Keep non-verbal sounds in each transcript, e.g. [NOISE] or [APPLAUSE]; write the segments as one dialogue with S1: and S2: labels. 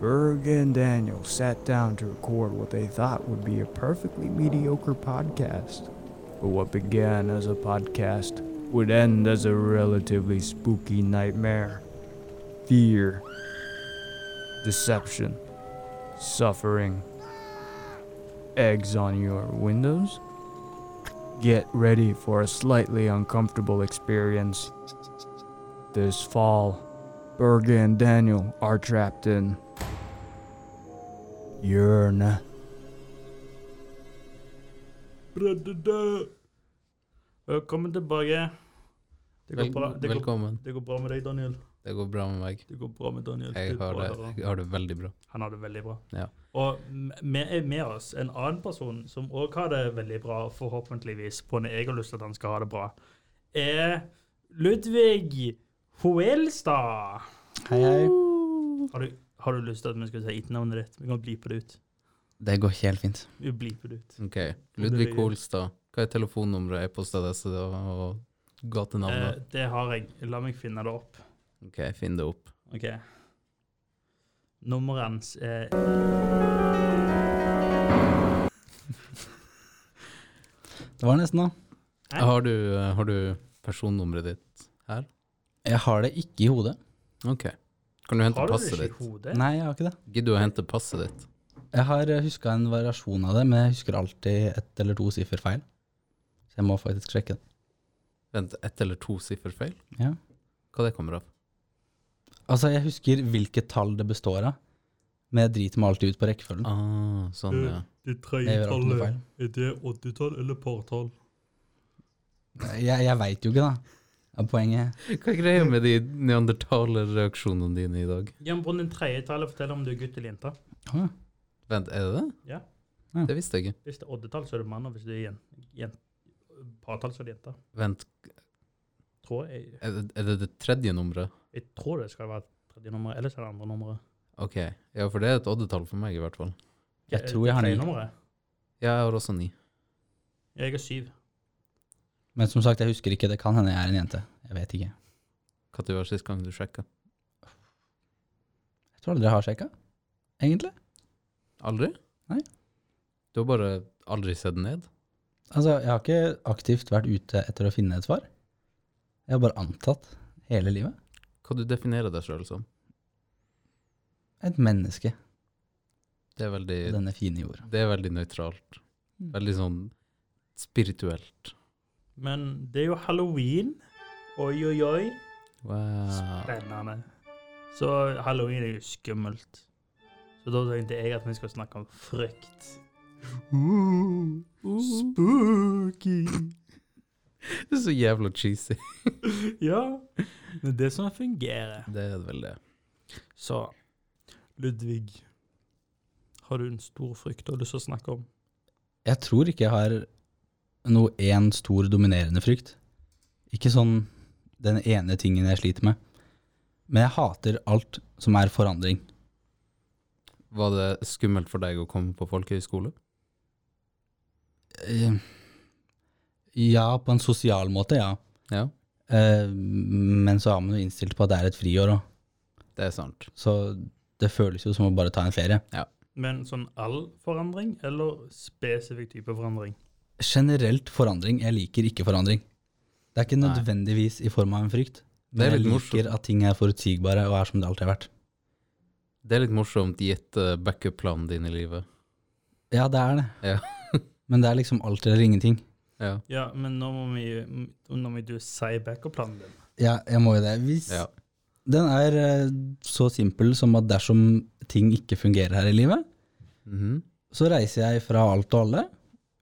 S1: Berg and Daniel sat down to record what they thought would be a perfectly mediocre podcast. But what began as a podcast would end as a relatively spooky nightmare. Fear, deception, suffering, eggs on your windows? Get ready for a slightly uncomfortable experience. This fall, Berger and Daniel are trapped in. Urn.
S2: Velkommen Eh, tilbake. Det går,
S3: Vel,
S2: bra. Det, går,
S3: velkommen.
S2: det går bra med deg, Daniel.
S3: Det går bra med meg.
S2: Det går bra med Daniel.
S3: Jeg
S2: er
S3: har
S2: bra
S3: det,
S2: å høre.
S3: jeg har det veldig bra.
S2: Han har det veldig bra.
S3: Ja.
S2: Og m- vi er med oss en annen person som òg har det veldig bra, forhåpentligvis, på når jeg har lyst til at han skal ha det bra, er Ludvig Hoelstad.
S3: Hei, hei.
S2: Har du, har du lyst til at vi skal si etternavnet ditt? Vi kan blipe det ut.
S3: Det går ikke helt fint.
S2: Vi bliper det ut.
S3: Ok, Ludvig Kolstad. Hva er telefonnummeret, e-postadresse og og
S2: Eh,
S3: gatenavnet?
S2: det har jeg. La meg finne det opp.
S3: Ok, finn det opp.
S2: OK. Nummeret hans er
S4: Det var nesten, da.
S2: Hæ?
S3: Har du, eh, har du personnummeret ditt her?
S4: Jeg har det ikke i hodet.
S3: Ok. Kan du hente
S2: Har du det
S3: passet
S2: ikke i
S3: ditt?
S2: hodet?
S4: Nei, jeg har ikke det.
S3: Gidder du å hente passet ditt?
S4: Jeg har huska en variasjon av det, men jeg husker alltid ett eller to siffer feil. Så jeg må faktisk sjekke det.
S3: Vent, ett eller to siffer feil?
S4: Ja.
S3: Hva det kommer av?
S4: Altså, jeg husker hvilket tall det består av, men jeg driter meg alltid ut på rekkefølgen.
S3: Ah, sånn,
S2: Du-
S3: ja.
S2: Det
S4: Jeg gjør alltid noe feil.
S2: er det 80-tall eller partall?
S4: Jeg, jeg veit jo ikke, da. Ja, Poenget
S3: Hva er greia med de neandertalerreaksjonene dine i dag?
S2: Jan Brunn, den tredje tallet forteller om du er gutt eller jente.
S4: Å, ja.
S3: Vent, er det det?
S2: Ja.
S4: Ja.
S3: Det visste jeg ikke.
S2: Hvis det er oddetall, så er du mann, og hvis det er jen, jen, partall, så er det jente.
S3: Vent,
S2: Tror jeg,
S3: er det, er det det tredje nummeret?
S2: jeg tror det skal være tredje nummer, ellers er det andre nummeret.
S3: Ok, ja, for det er et oddetall for meg i hvert fall.
S4: Jeg
S2: Eh,
S4: tror jeg har
S2: tredje
S4: ni.
S2: nummeret.
S3: Ja, jeg har også ni.
S2: Jeg er syv.
S4: Men som sagt, jeg husker ikke. Det kan hende jeg er en jente. Jeg vet ikke.
S3: Hva det var sist gang du sjekket?
S4: Jeg tror aldri jeg har sjekka, egentlig.
S3: Aldri?
S4: Nei.
S3: Du har bare aldri sett ned?
S4: Altså, jeg har ikke aktivt vært ute etter å finne et svar. Jeg har bare antatt hele livet.
S3: Hva du definerer deg selv som?
S4: Et menneske
S3: Det er veldig,
S4: på denne fine jorda.
S3: det er veldig nøytralt.
S4: Mm.
S3: Veldig sånn spirituelt.
S2: Men det er jo halloween. Oi, oi, oi.
S3: Wow.
S2: Spennende. Så halloween er jo skummelt. Så da tenkte jeg at vi skal snakke om frykt. Spooky.
S3: Det er så jævla cheesy.
S2: Ja, men det som fungerer.
S3: Det er vel det.
S2: Så, Ludvig, har du en stor frykt du har lyst til å snakke om?
S4: Jeg tror ikke jeg har noe én stor dominerende frykt. Ikke sånn den ene tingen jeg sliter med. Men jeg hater alt som er forandring.
S3: Var det skummelt for deg å komme på folkehøyskole?
S4: Eh, Ja, på en sosial måte, ja.
S3: Ja,
S4: Eh, Men så har man jo innstilt på at det er et friår òg,
S3: det er sant.
S4: så det føles jo som å bare ta en ferie.
S2: Men sånn all forandring, eller spesifikk type forandring?
S4: Generelt forandring. Jeg liker ikke forandring. Det er ikke
S3: Nei.
S4: nødvendigvis i form av en frykt,
S3: Det
S4: men
S3: er
S4: jeg
S3: litt
S4: liker at ting er forutsigbare og er som det alltid har vært.
S3: Det er litt morsomt gitt eh, backup-planen din i livet.
S4: Ja, det er det.
S3: Ja.
S4: [LAUGHS] Men det er liksom alt eller ingenting.
S3: Ja.
S2: Ja, men nå må vi, nå må du si backup-planen din.
S4: Ja, jeg må jo det. Hvis
S3: Ja.
S4: Den er eh, så simpel som at dersom ting ikke fungerer her i livet,
S3: Mhm.
S4: så reiser jeg fra alt og alle,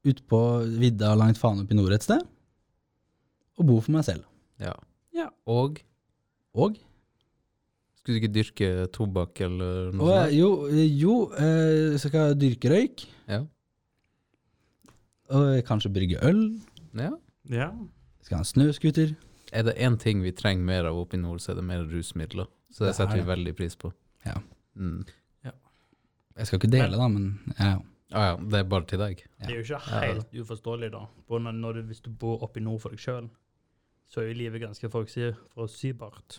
S4: ut på vidda langt faen opp i nord et sted, og bor for meg selv.
S3: Ja.
S2: Ja.
S3: Og
S4: Og
S3: Skulle du ikke dyrke tobakk eller noe
S4: Og
S3: sånt?
S4: jo, jo eh, så skal jeg dyrke røyk.
S3: Ja.
S4: Og kanskje brygge øl.
S3: Ja.
S2: Ja,
S4: Skal ha en snøskuter.
S3: Er det én ting vi trenger mer av oppe i nord, så er det mer rusmidler. Så det,
S4: Det er
S3: setter vi
S4: det.
S3: veldig pris på.
S4: Ja.
S3: Mm.
S4: Jeg skal ikke dele, da, men ja, ja.
S3: Ah, ja, det er bare til deg.
S2: det er jo ikke helt uforståelig da. Både når- når du, hvis du bor oppe i nord for deg selv, så er jo livet ganske forutsig- forutsigbart.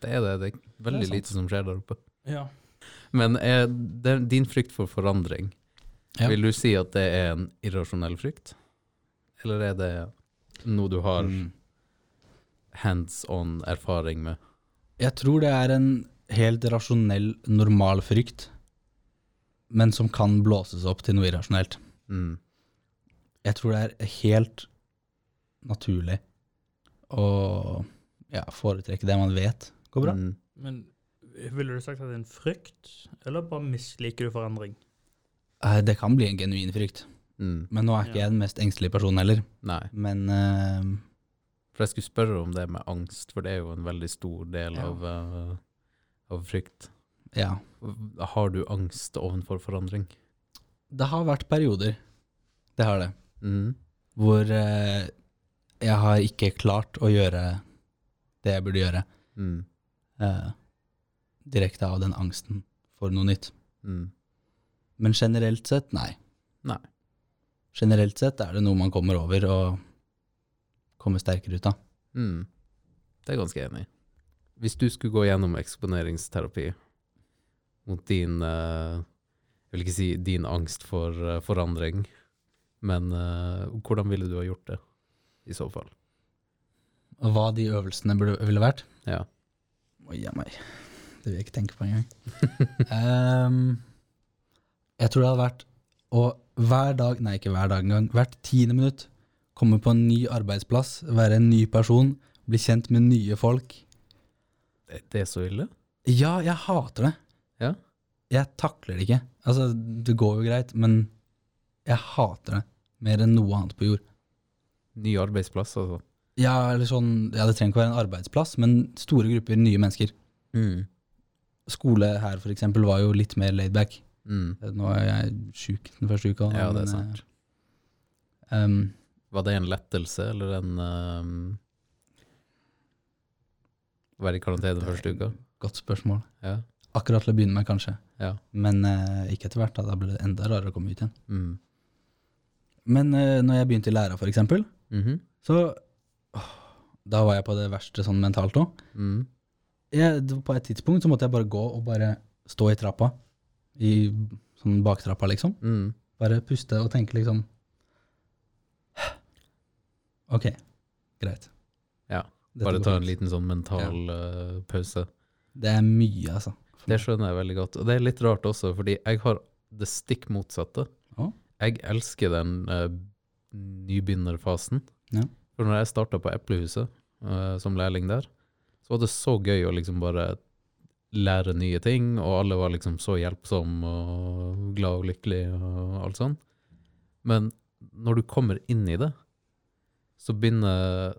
S3: Det er det. Det er veldig
S4: Det er sant.
S3: lite som skjer der oppe.
S2: Ja,
S3: Men eh, det, din frykt for forandring,
S4: Ja.
S3: vil du si at det er en irrasjonell frykt? Eller er det noe du har
S4: Mm.
S3: hands on erfaring med?
S4: Jeg tror det er en helt rasjonell, normal frykt, men som kan blåses opp til noe irrasjonelt.
S3: Mm.
S4: Jeg tror det er helt naturlig å ja, foretrekke det man vet går bra.
S3: Mm.
S2: Men ville du sagt at det er en frykt, eller bare misliker du forandring?
S4: Eh, Det kan bli en genuin frykt,
S3: Mm.
S4: men nå er ikke
S2: Ja.
S4: jeg den mest engstelige personen heller.
S3: Nei.
S4: Men eh,
S3: For jeg skulle spørre om det med angst, for det er jo en veldig stor del
S4: Ja.
S3: av, eh, av frykt.
S4: ja,
S3: Har du angst ovenfor forandring?
S4: det har vært perioder, det har det,
S3: Mm.
S4: hvor eh, jeg har ikke klart å gjøre det jeg burde gjøre.
S3: Mm.
S4: eh, direkte av den angsten for noe nytt.
S3: Mm.
S4: Men generelt sett, nei.
S3: Nei.
S4: Generelt sett er det noe man kommer over og kommer sterkere ut av.
S3: Mm. Det er jeg ganske enig i. Hvis du skulle gå gjennom eksponeringsterapi mot din eh, Jeg vil ikke si din angst for eh, forandring, men eh, hvordan ville du ha gjort det, i så [LAUGHS] fall?
S4: Og hva de øvelsene burde, ville vært?
S3: Ja.
S4: Oi, ja, meg. Det vil jeg ikke tenke på
S3: [LAUGHS]
S4: engang. Ehm, jeg tror det hadde vært å hver dag, nei ikke hver dag engang, hvert tiende minutt komme på en ny arbeidsplass, være en ny person, bli kjent med nye folk.
S3: Det, det er så ille?
S4: Ja, jeg hater det.
S3: Ja.
S4: Jeg takler det ikke. Altså, det går jo greit, men jeg hater det mer enn noe annet på jord.
S3: Ny arbeidsplass, altså.
S4: Ja, eller sånn, ja, det trenger ikke å være en arbeidsplass, men store grupper nye mennesker.
S3: Mm.
S4: Skole her, for eksempel, var jo litt mer laid back.
S3: Mm.
S4: Nå er jeg sjuk den første uka.
S3: Ja, det
S4: men,
S3: er sant.
S4: eh, ehm,
S3: Var det en lettelse eller en eh, å Være i karantene første uka?
S4: godt spørsmål.
S3: Ja.
S4: Akkurat til å begynne med, kanskje.
S3: Ja.
S4: Men eh, ikke etter hvert. Da, da ble det enda rarere å komme ut igjen.
S3: Mm.
S4: Men eh, når jeg begynte i læra, for eksempel,
S3: Mhm.
S4: så åh, Da var jeg på det verste sånn mentalt òg.
S3: mm.
S4: jeg, det var på et tidspunkt så måtte jeg bare gå og bare stå i trappa. I sånn baktrappa, liksom.
S3: Mm.
S4: Bare puste og tenke liksom Ok, greit.
S3: Ja,
S4: Dette
S3: Bare
S4: går
S3: ta en
S4: fint.
S3: liten sånn mental eh, pause.
S4: Det er mye, altså.
S3: Det skjønner jeg veldig godt. Og det er litt rart også, fordi jeg har det stikk motsatte.
S4: Ja.
S3: Jeg elsker den eh, nybegynnerfasen.
S4: Ja.
S3: For når jeg starta på Eplehuset eh, som lærling der, så var det så gøy å liksom bare lære nye ting, og alle var liksom så hjelpsomme og glad og lykkelig og alt sånn. Men når du kommer inn i det, så begynner,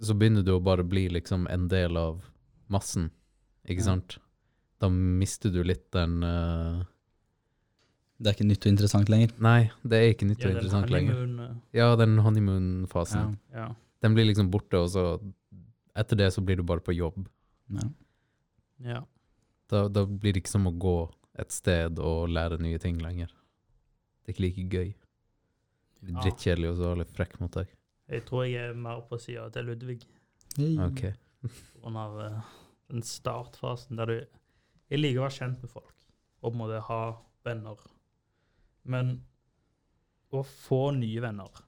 S3: så begynner du å bare bli liksom en del av massen, ikke
S4: Ja.
S3: sant? da mister du litt den eh,
S4: Det er ikke nytt og interessant lenger.
S3: Nei, det er ikke nytt
S2: Ja,
S3: og
S2: den
S3: interessant lenger.
S2: honeymoon, eh,
S3: Ja, den honeymoon-fasen.
S2: Ja.
S3: Den blir liksom borte, og så etter det så blir du bare på jobb.
S4: Ja.
S2: ja.
S3: Da, da blir det ikke som å gå et sted og lære nye ting lenger. Det er ikke like gøy. Det blir
S2: Ja.
S3: drittkjedelig, og så er litt frekk mot deg.
S2: Jeg tror jeg er mer på sida til Ludvig
S3: Ok.
S2: under eh, den startfasen der du Jeg liker å være kjent med folk og på en måte ha venner. Men å få nye venner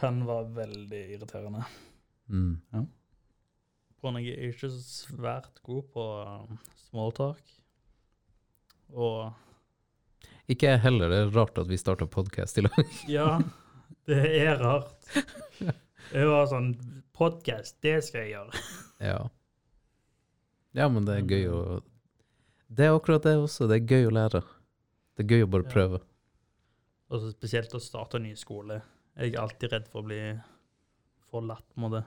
S2: kan være veldig irriterende.
S3: Mm.
S2: For jeg er ikke så svært god på eh, smalltalk. Og
S3: Ikke jeg heller. Det er rart at vi starta podkast i lag.
S2: Ja, det er rart. Jeg var sånn Podkast, det skal jeg gjøre.
S3: [LAUGHS] Ja. ja, men det er gøy
S2: Mm.
S3: å Det er akkurat det også. Det er gøy å lære. Det er gøy å bare
S2: Ja.
S3: prøve.
S2: Og så spesielt å starte en ny skole. Jeg er alltid redd for å bli forlatt med det.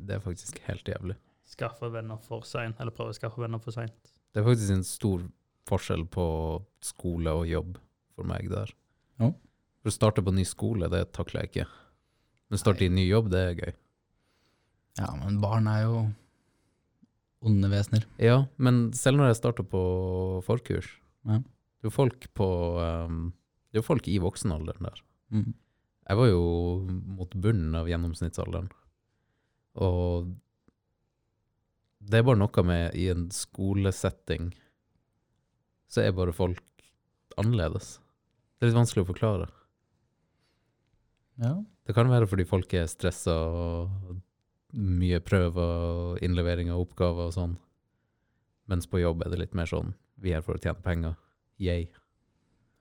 S3: Det er faktisk helt jævlig.
S2: Skaffe venner for seint, eller prøve å skaffe venner for seint.
S3: Det er faktisk en stor forskjell på skole og jobb for meg der.
S4: Ja.
S3: For å starte på ny skole, det takler jeg ikke. Men starte i en ny jobb, det er gøy.
S4: ja, men barn er jo onde vesener.
S3: Ja, men selv når jeg starter på forkurs,
S4: Ja.
S3: det er jo folk på ehm, Det er jo folk i voksenalderen der.
S4: Mm.
S3: Jeg var jo mot bunnen av gjennomsnittsalderen. Og det er bare noe med i en skolesetting så er bare folk annerledes. Det er litt vanskelig å forklare.
S4: Ja.
S3: Det kan være fordi folk er stressa og mye prøver og innlevering av oppgaver og sånn. Mens på jobb er det litt mer sånn vi er her for å tjene penger. Yay.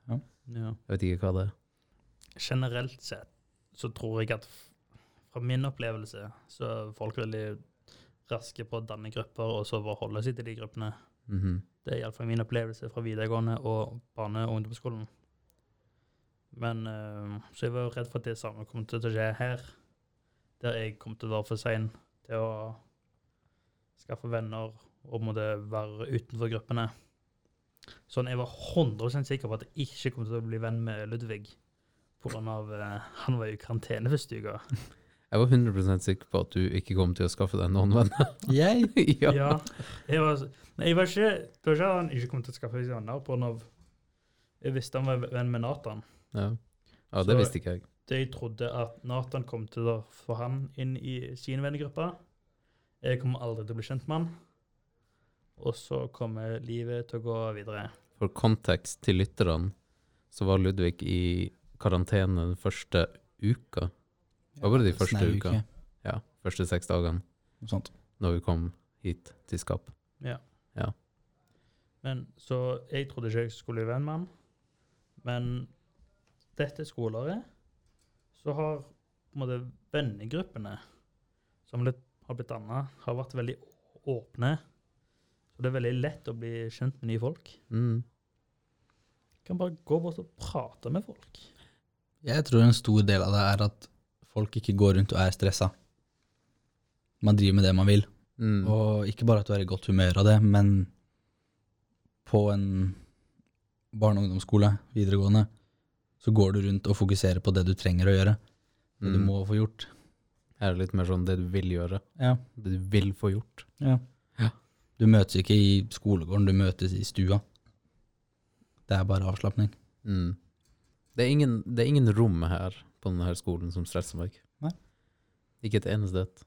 S2: Ja.
S3: Jeg vet ikke hva det er.
S2: generelt sett så tror jeg at f- fra min opplevelse så er folk veldig raske på å danne grupper og så bare holde seg til de gruppene.
S3: Mhm.
S2: Det er iallfall min opplevelse fra videregående og barne- og ungdomsskolen. Men eh, Så jeg var jo redd for at det samme kom til å skje her, der jeg kom til å være for sein til å skaffe venner og måtte være utenfor gruppene. Sånn, Jeg var 100 sikker på at jeg ikke kom til å bli venn med Ludvig. På grunn av, eh, han var jo i karantene første uka.
S3: Jeg var 100 sikker på at du ikke kom til å skaffe deg noen venner. [LAUGHS]
S4: Jeg?
S3: ja.
S2: Ja. Jeg var, nei, jeg var ikke, det var ikke at han ikke kom til å skaffe seg venner. På grunn av, jeg visste han var venn med Nathan.
S3: Ja. ja, det
S2: Så-
S3: visste ikke jeg.
S2: det jeg trodde at Nathan kom til å få han inn i sin vennegruppe. Jeg kommer aldri til å bli kjent med han. Og så kommer livet til å gå videre.
S3: For kontekst til lytterne, så var Ludvig i karantene den første uka. Det var bare de første
S4: Snau
S3: uka. Ja, første seks dagene
S4: Noe sånt.
S3: når vi kom hit til Skap.
S2: Men, så jeg trodde ikke jeg skulle bli venn med han. Men dette skoleåret så har på en måte vennegruppene som litt, har blitt dannet, har vært veldig åpne. Så det er veldig lett å bli kjent med nye folk.
S3: Mm.
S2: Kan bare gå bort og prate med folk.
S4: Jeg tror en stor del av det er at folk ikke går rundt og er stressa. Man driver med det man vil.
S3: Mm.
S4: Og ikke bare at du er i godt humør av det, men på en barne- og ungdomsskole, videregående, så går du rundt og fokuserer på det du trenger å gjøre. Det du
S3: Mm.
S4: må få gjort.
S3: Her er det litt mer sånn det du vil gjøre,
S4: Ja.
S3: det du vil få gjort.
S4: Du møtes ikke i skolegården, du møtes i stua. Det er bare avslapning.
S3: Mm. Det, er ingen, det er ingen rom her på denne her skolen som stresser meg.
S4: Nei.
S3: Ikke et eneste et.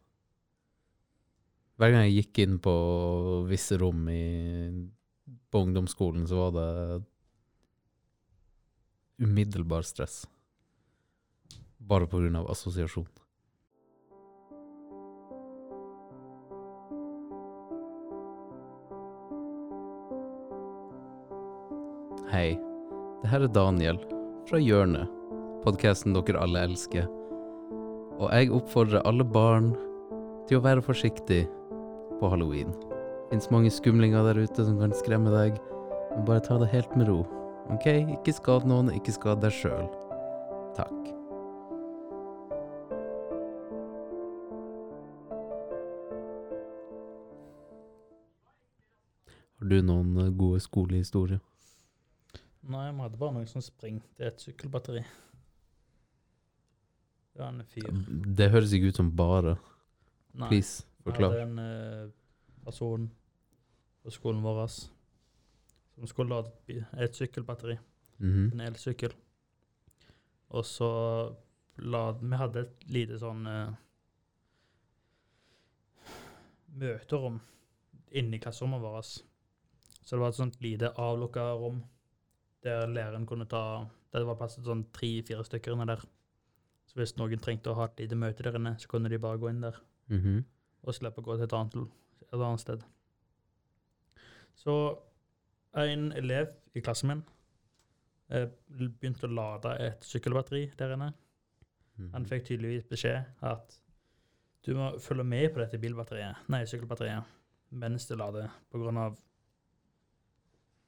S3: Hver gang jeg gikk inn på visse rom i, på ungdomsskolen, så var det umiddelbar stress. Bare på grunn av assosiasjon. Hei. Det her er Daniel fra Hjørnet, podkasten dere alle elsker. Og jeg oppfordrer alle barn til å være forsiktig på halloween. Fins mange skumlinger der ute som kan skremme deg, men bare ta det helt med ro. OK, ikke skad noen, ikke skad deg sjøl. Takk. Har du noen eh, gode skolehistorier?
S2: Nei, vi hadde bare noe som sprengte et sykkelbatteri. Det var en fyr.
S3: Det høres ikke ut som bare.
S2: Nei,
S3: Please,
S2: vi
S3: forklar.
S2: hadde en eh, person på skolen vår som skulle lade et bi- et sykkelbatteri,
S3: Mhm.
S2: en elsykkel. Og så la Vi hadde et lite sånn eh, møterom inni klasserommet vårt. Så det var et sånt lite avlukka rom der læreren kunne ta Der det var plass til sånn tre-fire stykker inne der. Så hvis noen trengte å ha et lite møte der inne, så kunne de bare gå inn der
S3: Mhm.
S2: og slippe å gå til et annet, l- et annet sted. Så en elev i klassen min eh, l- begynte å lade et sykkelbatteri der inne.
S3: Mhm.
S2: Han fikk tydeligvis beskjed at du må følge med på dette bilbatteriet, nei, sykkelbatteriet mens det lader, på grunn av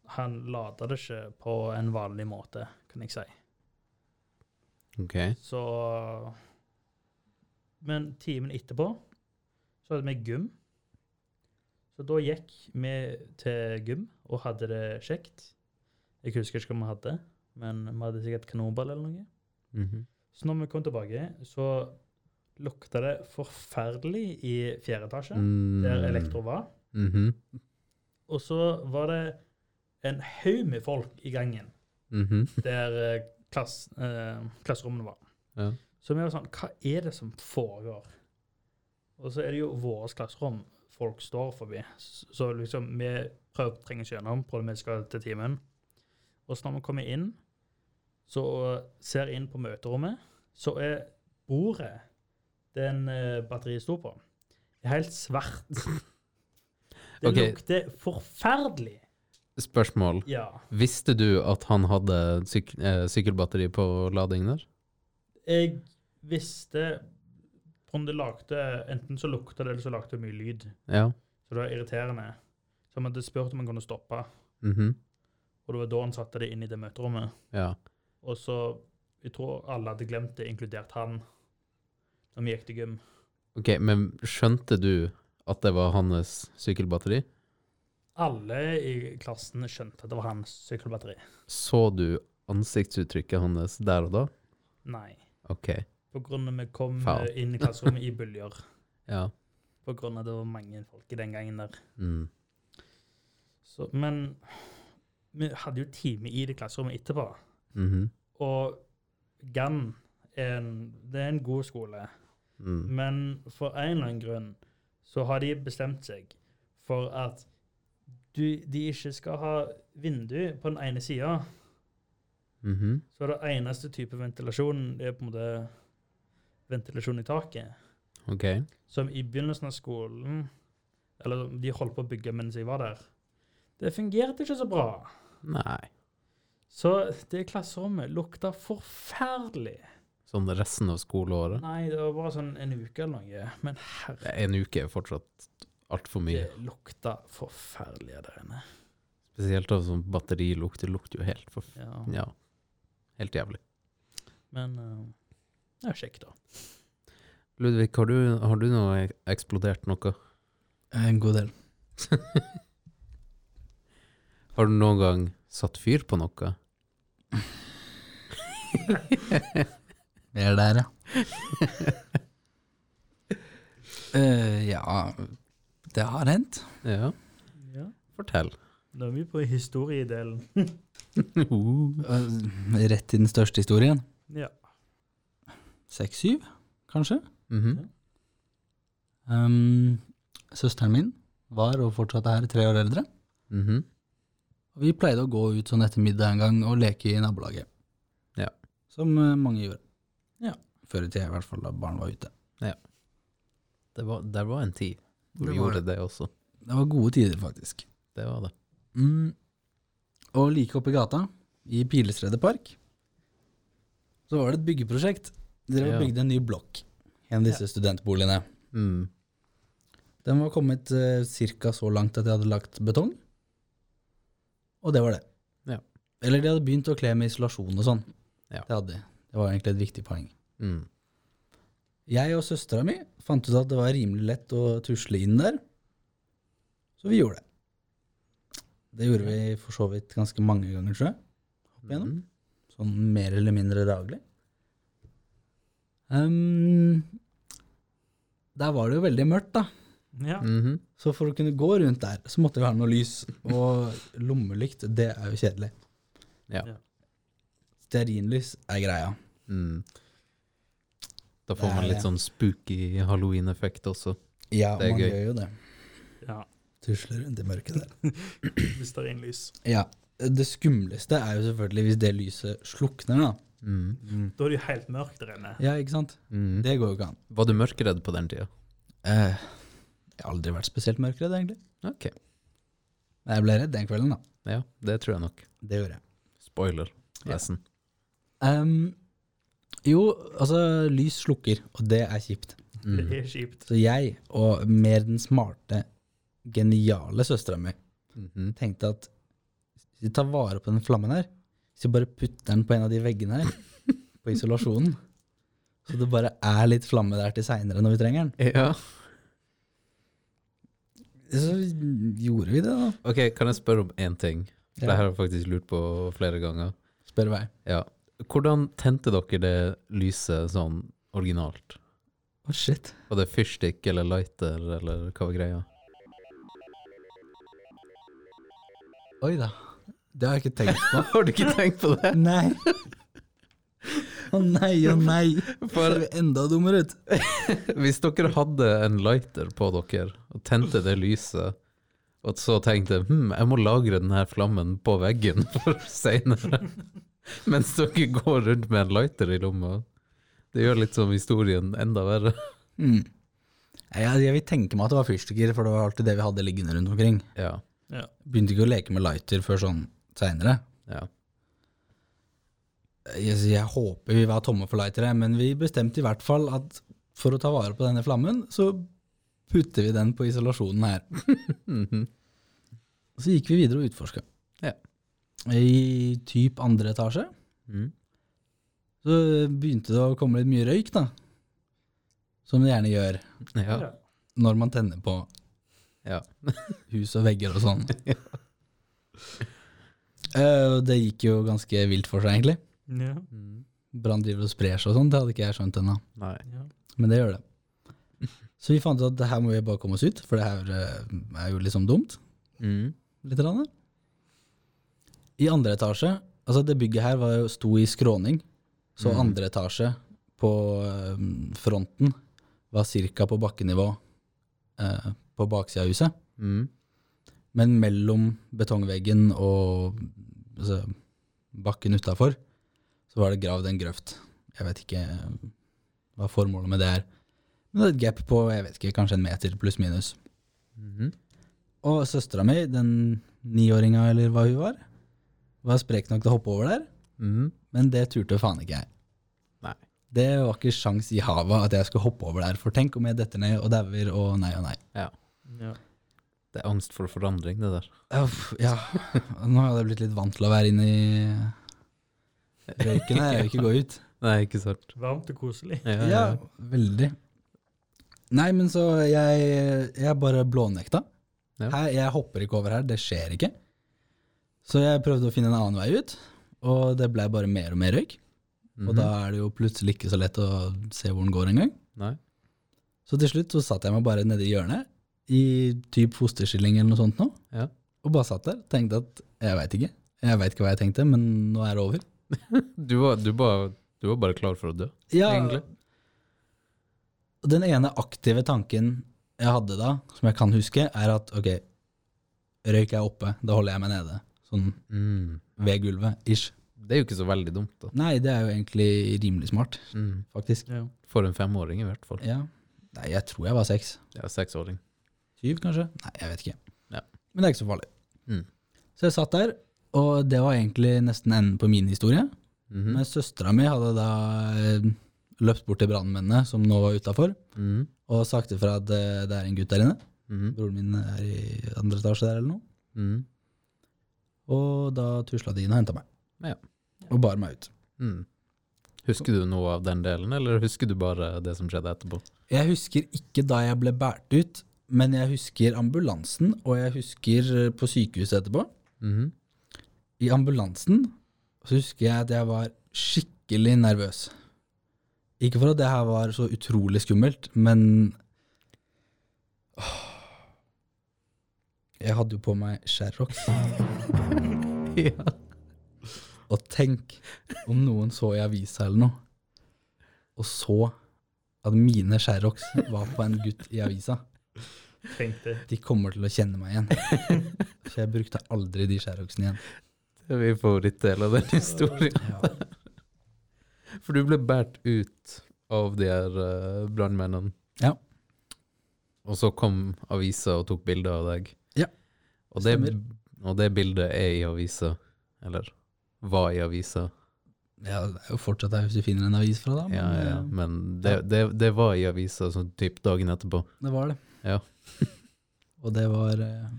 S2: han lader det ikke på en vanlig måte, kan jeg si.
S3: Ok.
S2: Så Men timen etterpå så hadde vi gym. Så da gikk vi til gym og hadde det kjekt. Jeg husker ikke hva vi hadde, men vi hadde sikkert kanonball eller noe.
S3: Mhm.
S2: Så når vi kom tilbake, så lukta det forferdelig i fjerde etasje,
S3: Mm.
S2: der Elektro var.
S3: Mhm.
S2: Og så var det en haug med folk i gangen.
S3: Mhm.
S2: der eh, klass, eh, klasserommene var.
S3: Ja.
S2: Så vi var sånn, hva er det som foregår? Og så er det jo vårt klasserom folk står forbi. S- Så liksom, vi prøver å trenge oss gjennom på det vi skal til timen. Og så når vi kommer inn, så ser jeg inn på møterommet, så er bordet den eh, batteriet sto på, er helt
S3: [LAUGHS]
S2: svart. Det
S3: Ok.
S2: lukter forferdelig.
S3: Spørsmål.
S2: Ja.
S3: Visste du at han hadde syk eh, sykkelbatteri på lading der?
S2: Jeg visste om det lagde Enten så lukta det, eller så lagde det mye lyd.
S3: Ja.
S2: Så det var irriterende. Så han hadde spurt om han kunne stoppe,
S3: Mhm.
S2: og det var da han satte det inn i det møterommet.
S3: Ja.
S2: Og så Jeg tror alle hadde glemt det, inkludert han, når vi gikk til gym.
S3: Ok, men skjønte du at det var hans sykkelbatteri?
S2: Alle i klassen skjønte at det var hans sykkelbatteri.
S3: Så du ansiktsuttrykket hans der og da?
S2: Nei.
S3: Ok.
S2: På grunn av vi kom
S3: Faen.
S2: eh, inn i klasserommet i bølger.
S3: Ja.
S2: På grunn av det var mange folk i den gangen der.
S3: Mm.
S2: Så, men vi hadde jo time i det klasserommet etterpå.
S3: Mhm.
S2: Og GAN er en, det er en god skole.
S3: mm.
S2: Men for en eller annen grunn så har de bestemt seg for at du, de ikke skal ha vindu på den ene sida.
S3: Mhm.
S2: Så det eneste type ventilasjon er på en måte ventilasjon i taket.
S3: Ok.
S2: som i begynnelsen av skolen Eller de holdt på å bygge mens jeg var der. Det fungerte ikke så bra.
S3: Nei.
S2: Så det klasserommet lukta forferdelig.
S3: Sånn resten av skoleåret?
S2: Nei, det var bare sånn en uke eller noe. Men herre,
S3: En uke er fortsatt altfor
S2: det
S3: mye.
S2: lukta forferdelig der inne.
S3: Spesielt av sånn batterilukt. Det lukter jo helt forf...
S2: Ja.
S3: Ja. Helt jævlig.
S2: Men eh, det er kjekt, da.
S3: Ludvig, har du, har du nå ek- eksplodert noe?
S4: En god del.
S3: Har du noen gang satt fyr på noe?
S4: Vi er der, ja. [LAUGHS] Eh, ja Det har hendt.
S3: [LAUGHS] Ja,
S2: Ja.
S3: [LAUGHS] fortell.
S2: Nå er vi på historiedelen.
S3: Uh.
S4: Eh, rett i den største historien.
S2: Ja.
S4: Seks-syv, kanskje?
S3: Mhm.
S4: Um, søsteren min var og fortsatt er tre år eldre.
S3: Mhm.
S4: Og vi pleide å gå ut sånn etter middag en gang og leke i nabolaget.
S3: Ja.
S4: Som eh, mange gjorde.
S2: Ja.
S4: Før i tida, i hvert fall da barn var ute.
S3: Det var, der var en tid hvor
S4: Det
S3: vi
S4: var
S3: gjorde det også.
S4: Det var gode tider, faktisk.
S3: Det var det.
S4: Mm. Og like oppe i gata, i Pilestredet park, så var det et byggeprosjekt. Dere
S3: Ja.
S4: bygde en ny blokk. En av disse studentboligene.
S3: Mm.
S4: Den var kommet uh, ca. så langt at de hadde lagt betong. Og det var det.
S3: Ja.
S4: Eller de hadde begynt å kle med isolasjon og sånn.
S3: Ja.
S4: Det hadde de. Det var egentlig et viktig poeng.
S3: Mm.
S4: Jeg og søstera mi fant ut at det var rimelig lett å tusle inn der, så vi gjorde det. Det gjorde vi for så vidt ganske mange ganger, tror jeg. Opp igjennom.
S3: Mm.
S4: Sånn mer eller mindre daglig. Ehm, der var det jo veldig mørkt, da.
S2: ja.
S3: Mhm.
S4: Så for å kunne gå rundt der, så måtte vi ha noe lys. Og lommelykt, det er jo kjedelig.
S3: Ja.
S2: Ja.
S4: Stearinlys er greia.
S3: Mm. Da får
S4: Det
S3: man
S4: er
S3: litt
S4: det.
S3: sånn spooky halloween-effekt også.
S4: Ja,
S3: Det er
S4: man
S3: gøy.
S4: gjør jo det.
S2: ja.
S4: Tusler rundt i mørket der.
S2: Hvis det er innlys.
S4: Ja. Det skumleste er jo selvfølgelig hvis det lyset slukner, da.
S3: Mm.
S2: Da er det jo helt mørkt der inne.
S4: Ja, ikke sant?
S3: Mm.
S4: Det går jo ikke an.
S3: Var du mørkredd på den tida?
S4: Eh, jeg har aldri vært spesielt mørkredd, egentlig.
S3: Ok.
S4: Men jeg ble redd den kvelden, da.
S3: Ja, det tror jeg nok.
S4: Det gjorde jeg.
S3: Spoiler,
S4: Ja. [LAUGHS]
S3: nesten.
S4: Ehm, jo, altså, lys slukker, og det er kjipt.
S2: Det
S3: Mm.
S2: er kjipt.
S4: Så jeg, og mer den smarte, geniale søstera mi,
S3: Mhm.
S4: tenkte at hvis vi tar vare på den flammen her, hvis vi bare putter den på en av de veggene her, på isolasjonen, så det bare er litt flamme der til seinere når vi trenger den,
S3: Ja.
S4: så gjorde vi det, da.
S3: Ok, kan jeg spørre om én ting? For
S4: Ja.
S3: Det her har jeg faktisk lurt på flere ganger.
S4: Spør vei.
S3: Ja. Hvordan tente dere det lyset sånn originalt?
S4: Å, shit.
S3: Var det fyrstikk eller lighter, eller hva var greia?
S4: Oi da. Det har jeg ikke tenkt på. [LAUGHS]
S3: Har du ikke tenkt på det?
S4: Nei. Å nei, å
S3: [LAUGHS]
S4: nei! Ser
S3: For
S4: vi enda dummere ut?
S3: hvis dere hadde en lighter på dere og tente det lyset, og så tenkte hm, jeg må lagre denne flammen på veggen [LAUGHS] for seinere, mens dere går rundt med en lighter i lomma, det gjør litt sånn historien enda verre.
S4: Mm. Nei, Jeg, jeg vil tenke meg at det var fyrstikker, for det var alltid det vi hadde liggende rundt omkring.
S3: Ja,
S4: Begynte ikke å leke med lighter før sånn seinere.
S3: ja.
S4: Jeg, jeg håper vi var tomme for lightere, men vi bestemte i hvert fall at for å ta vare på denne flammen, så putter vi den på isolasjonen her.
S3: Mhm.
S4: Så gikk vi videre og utforska.
S3: Ja.
S4: I typ andre etasje
S3: Mm.
S4: så begynte det å komme litt mye røyk, da. Som det gjerne gjør
S3: ja.
S4: når man tenner på
S3: Ja. [LAUGHS]
S4: hus og vegger og sånn. Eh, og det gikk jo ganske vilt for seg, egentlig.
S2: Ja.
S3: Mm.
S4: Brann driver og sprer seg og sånn, det hadde ikke jeg skjønt ennå.
S3: Nei.
S2: Ja.
S4: Men det gjør det. Så vi fant ut at det her må vi bare komme oss ut, for det her eh, er jo liksom dumt.
S3: Mm.
S4: Litt rann. I andre etasje Altså, det bygget her var jo, sto i skråning, så
S3: Mhm.
S4: andre etasje på eh, fronten var ca. på bakkenivå eh, på baksida av huset.
S3: Mm.
S4: Men mellom betongveggen og altså, bakken utafor, så var det gravd en grøft. Jeg vet ikke hva formålet med det er. Men det er et gap på jeg vet ikke, kanskje en meter pluss minus.
S3: Mhm.
S4: Og søstera mi, den niåringa eller hva hun var, var sprek nok til å hoppe over der,
S3: Mhm.
S4: men det turte faen ikke jeg.
S3: Nei.
S4: Det var ikke sjans i havet at jeg skulle hoppe over der, for tenk om jeg detter ned og dauer, og nei og nei.
S2: Ja.
S3: Det er angst for forandring, det der.
S4: Uff, ja, nå har jeg blitt litt vant til å være inne i røyken her, jeg vil ikke gå ut.
S3: Nei, ikke sant.
S2: Varmt og koselig.
S3: Ja,
S4: Ja, veldig. Nei, men så jeg, jeg bare blånekta.
S3: Ja.
S4: Her, jeg hopper ikke over her, det skjer ikke. Så jeg prøvde å finne en annen vei ut, og det ble bare mer og mer røyk. Og
S3: Mhm.
S4: da er det jo plutselig ikke så lett å se hvor den går engang.
S3: Nei.
S4: Så til slutt så satt jeg meg bare nede i hjørnet, i typ fosterstilling eller noe sånt nå,
S3: Ja.
S4: og bare satt der, tenkte at jeg veit ikke. Jeg veit ikke hva jeg tenkte, men nå er det over.
S3: Du, var, du, var, du var bare klar for å dø,
S4: Ja,
S3: egentlig.
S4: Og Den ene aktive tanken jeg hadde da, som jeg kan huske, er at ok, røyk er oppe, da holder jeg meg nede. Sånn
S3: Mm.
S4: ved gulvet, ish.
S3: Det er jo ikke så veldig dumt, da.
S4: Nei, det er jo egentlig rimelig smart,
S3: Mm.
S4: faktisk.
S2: Ja.
S3: For en femåring, i hvert fall.
S4: Ja. Nei, jeg tror jeg var seks.
S3: Ja, Seksåring.
S4: Syv, kanskje? Nei, jeg vet ikke.
S3: Ja.
S4: Men det er ikke så farlig.
S3: Mm.
S4: Så jeg satt der, og det var egentlig nesten enden på min historie.
S3: Mhm.
S4: Men søstera mi hadde da eh, løpt bort til brannmennene, som nå var utafor,
S3: Mhm.
S4: og sagt ifra at eh, det er en gutt der inne.
S3: Mhm.
S4: Broren min er i andre etasje der eller noe.
S3: Mhm.
S4: Og da tusla de inn og henta meg.
S3: Ja.
S4: Og bar meg ut.
S3: Mhm. Husker du noe av den delen, eller husker du bare det som skjedde etterpå?
S4: Jeg husker ikke da jeg ble båret ut, men jeg husker ambulansen, og jeg husker eh, på sykehuset etterpå.
S3: Mhm.
S4: I ambulansen så husker jeg at jeg var skikkelig nervøs. Ikke for at det her var så utrolig skummelt, men Åh. Jeg hadde jo på meg Sherrox.
S3: Ja.
S4: Og tenk om noen så i avisa eller noe, og så at mine Sherrox var på en gutt i avisa.
S2: Tenkte.
S4: De kommer til å kjenne meg igjen. Så jeg brukte aldri de Sherroxene igjen.
S3: Det er min favorittdel av den [LAUGHS] historien. For du ble båret ut av de her eh, brannmennene.
S4: Ja.
S3: Og så kom avisa og tok bilde av deg.
S4: Ja.
S3: Og det,
S4: Stemmer.
S3: og det bildet er i avisa. Eller var i avisa.
S4: Ja, det er jo fortsatt der hvis du finner en avis fra da. men,
S3: Ja, ja, ja.
S4: eh,
S3: Men det, det, det var i avisa sånn typ dagen etterpå.
S4: Det var det.
S3: Ja.
S4: [LAUGHS] Og det var eh,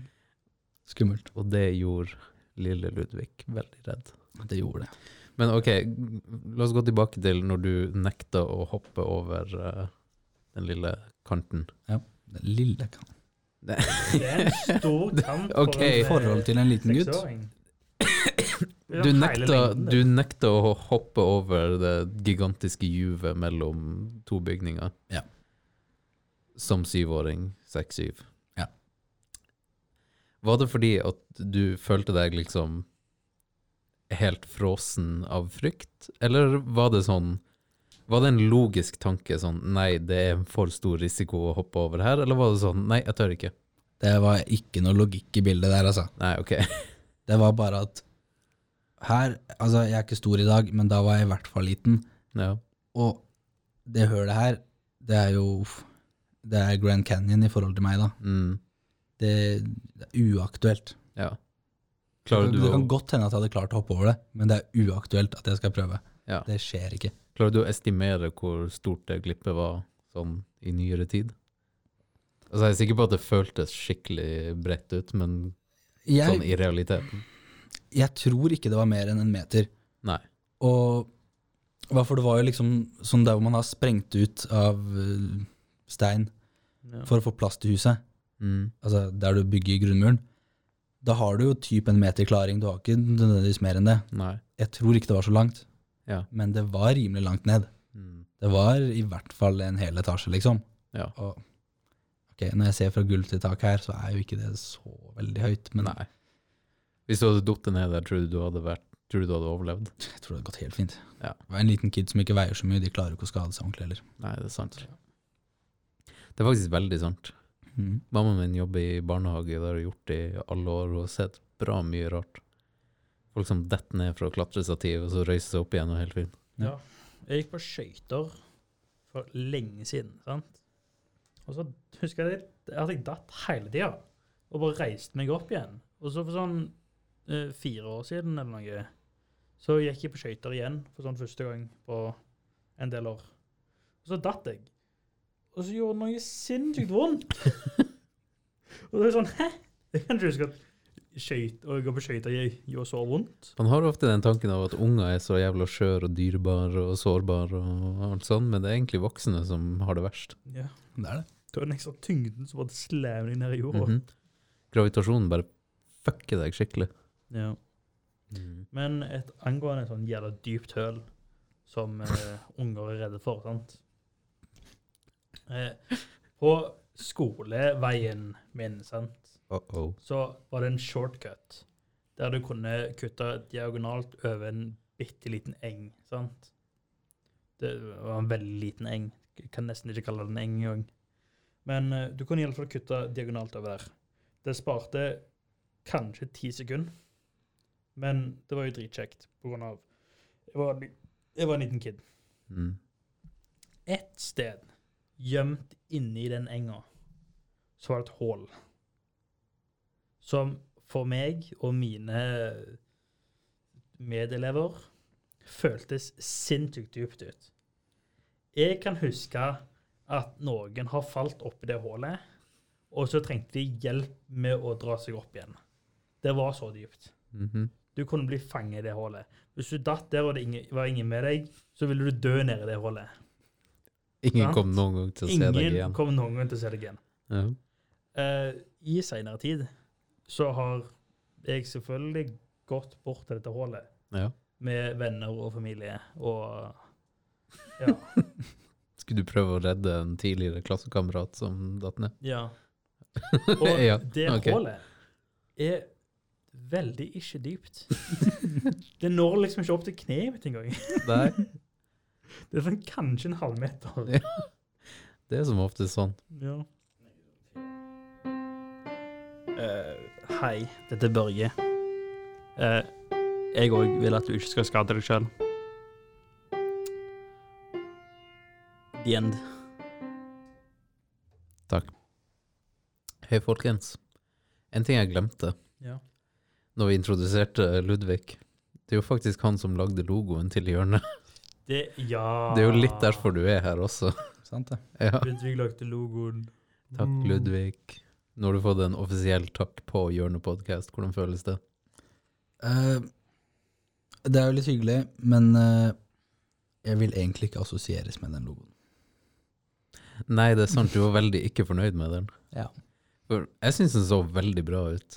S4: skummelt.
S3: Og det gjorde lille Ludvig veldig redd.
S4: Det gjorde det.
S3: Men ok, la oss gå tilbake til når du nekta å hoppe over eh, den lille kanten.
S4: Den lille kan.
S2: Det er en
S3: [LAUGHS]
S2: stor kamp
S3: Ok.
S4: I
S2: Eh,
S4: forhold til en liten gutt.
S2: seksåring. Ja,
S3: Du
S2: hele
S3: nekta,
S2: lengden, liksom. det.
S3: du nekta å hoppe over det gigantiske juvet mellom to bygninger.
S4: Ja.
S3: Som syvåring. Seks-syv.
S4: Ja.
S3: Var det fordi at du følte deg liksom helt frosen av frykt, eller var det sånn Var det en logisk tanke sånn Nei, det er en for stor risiko å hoppe over her, eller var det sånn Nei, jeg tør ikke.
S4: Det var ikke noe logikk i bildet der, altså.
S3: Nei, OK. [LAUGHS]
S4: Det var bare at her Altså, jeg er ikke stor i dag, men da var jeg i hvert fall liten.
S3: Ja.
S4: Og det hølet her, det er jo uff, Det er Grand Canyon i forhold til meg, da.
S3: Mm,
S4: Det, det er uaktuelt.
S3: ja. Klarer du,
S4: det kan
S3: å,
S4: godt hende at jeg hadde klart å hoppe over det, men det er uaktuelt at jeg skal prøve.
S3: Ja.
S4: Det skjer ikke.
S3: klarer du å estimere hvor stort det glippet var sånn i nyere tid? Altså, jeg er sikker på at det føltes skikkelig bredt ut, men
S4: Jeg,
S3: sånn i realiteten.
S4: jeg tror ikke det var mer enn en meter.
S3: Nei.
S4: Og hva for det var jo liksom sånn der hvor man har sprengt ut av eh, stein
S2: Ja.
S4: for å få plass til huset,
S3: Mm,
S4: altså der du bygger grunnmuren, da har du jo typ en meter klaring, du har ikke nødvendigvis mer enn det.
S3: nei.
S4: Jeg tror ikke det var så langt,
S3: Ja.
S4: men det var rimelig langt ned.
S3: Mm,
S4: Det var i hvert fall en hel etasje, liksom.
S3: Ja.
S4: Og, ok, når jeg ser fra gulv til tak her, så er jo ikke det så veldig høyt, men
S3: nei. Hvis du hadde falt ned der, tror du du hadde, vært, tror du du hadde overlevd?
S4: jeg tror det hadde gått helt fint.
S3: Ja.
S4: Det var en liten kid som ikke veier så mye, de klarer jo ikke å skade seg ordentlig heller.
S3: Nei, det er sant. Det er faktisk veldig sant.
S4: Mhm.
S3: Mamma min jobber i barnehage, det har hun gjort i alle år, og har sett bra mye rart. Folk som detter ned fra klatrestativ, og så røyser seg opp igjen og er helt fint.
S2: Jeg gikk på skøyter for lenge siden, sant? Og så husker jeg det- at jeg datt hele tida, og bare reiste meg opp igjen. Og så for sånn eh, fire år siden eller noe, så gikk jeg på skøyter igjen for sånn første gang på en del år. Og så datt jeg. Og så gjorde det noe sinnssykt vondt. og det er sånn Hæ? Jeg kan ikke huske at skøyt, å gå på skøyter gjør så vondt.
S3: Man har ofte den tanken av at unger er så jævla skjøre og dyrebare og sårbare og alt sånt, men det er egentlig voksne som har det verst.
S2: Ja.
S4: Det er det.
S2: Det var den ekstra tyngden som bare slæv deg ned i jorda.
S3: Mhm. Gravitasjonen bare fucker deg skikkelig.
S2: Ja. Men et angående sånn jævla dypt høl som eh, unger er redde for, sant? Eh, på skoleveien min, sant,
S3: Uh -oh.
S2: så var det en shortcut der du kunne kutte diagonalt over en bitte liten eng, sant? Det var en veldig liten eng. Jeg kan nesten ikke kalle det en eng engang. Men eh, du kunne i alle fall kutte diagonalt over der. Det sparte kanskje ti sekunder, men det var jo dritkjekt på grunn av jeg var, en li- jeg var en liten kid.
S3: Mm.
S2: Et sted, gjemt inni den enga, så var det et hål. Som for meg og mine medelever føltes sinnssykt dypt ut. Jeg kan huske at noen har falt oppi det hullet, og så trengte de hjelp med å dra seg opp igjen. Det var så dypt.
S3: Mhm.
S2: Du kunne bli fanget i det hullet. Hvis du datt der og det ingen- var ingen med deg, så ville du dø nede i det hullet.
S3: Ingen
S2: Sant?
S3: kom noen gang til å se deg
S2: Ingen
S3: igjen.
S2: kommer noen gang til å se deg igjen.
S3: Ja.
S2: Eh, I seinere tid så har jeg selvfølgelig gått bort til dette hullet
S3: ja.
S2: med venner og familie og Ja.
S3: Skulle du prøve å redde en tidligere klassekamerat som
S2: [LAUGHS]
S3: datt ned? [LAUGHS]
S2: ja. Og
S3: Ja,
S2: det
S3: ok.
S2: hullet er veldig ikke dypt. det når liksom ikke opp til kneet mitt engang. [LAUGHS]
S3: Nei,
S2: Det er sånn kanskje en halvmeter.
S3: det er som ofte sånn.
S2: Ja. Eh, hei, dette er Børge. Eh, jeg òg vil at du ikke skal skade deg sjøl. The end.
S3: Hei, folkens. En ting jeg glemte
S2: Ja.
S3: når vi introduserte Ludvig. Det er jo faktisk han som lagde logoen til hjørnet.
S2: Det, ja.
S3: Det er jo litt derfor du er her også. [LAUGHS]
S4: Sant det?
S3: Ja.
S2: Ludvig lagde logoen.
S3: Takk, Ludvig. Nå har du fått en offisiell takk på Hjørnet podcast. Hvordan føles det?
S4: Eh, det er jo litt hyggelig, men eh, jeg vil egentlig ikke assosieres med den logoen.
S3: Nei, det er sant. Du var veldig ikke fornøyd med den.
S4: Ja.
S3: For jeg syns den så veldig bra ut.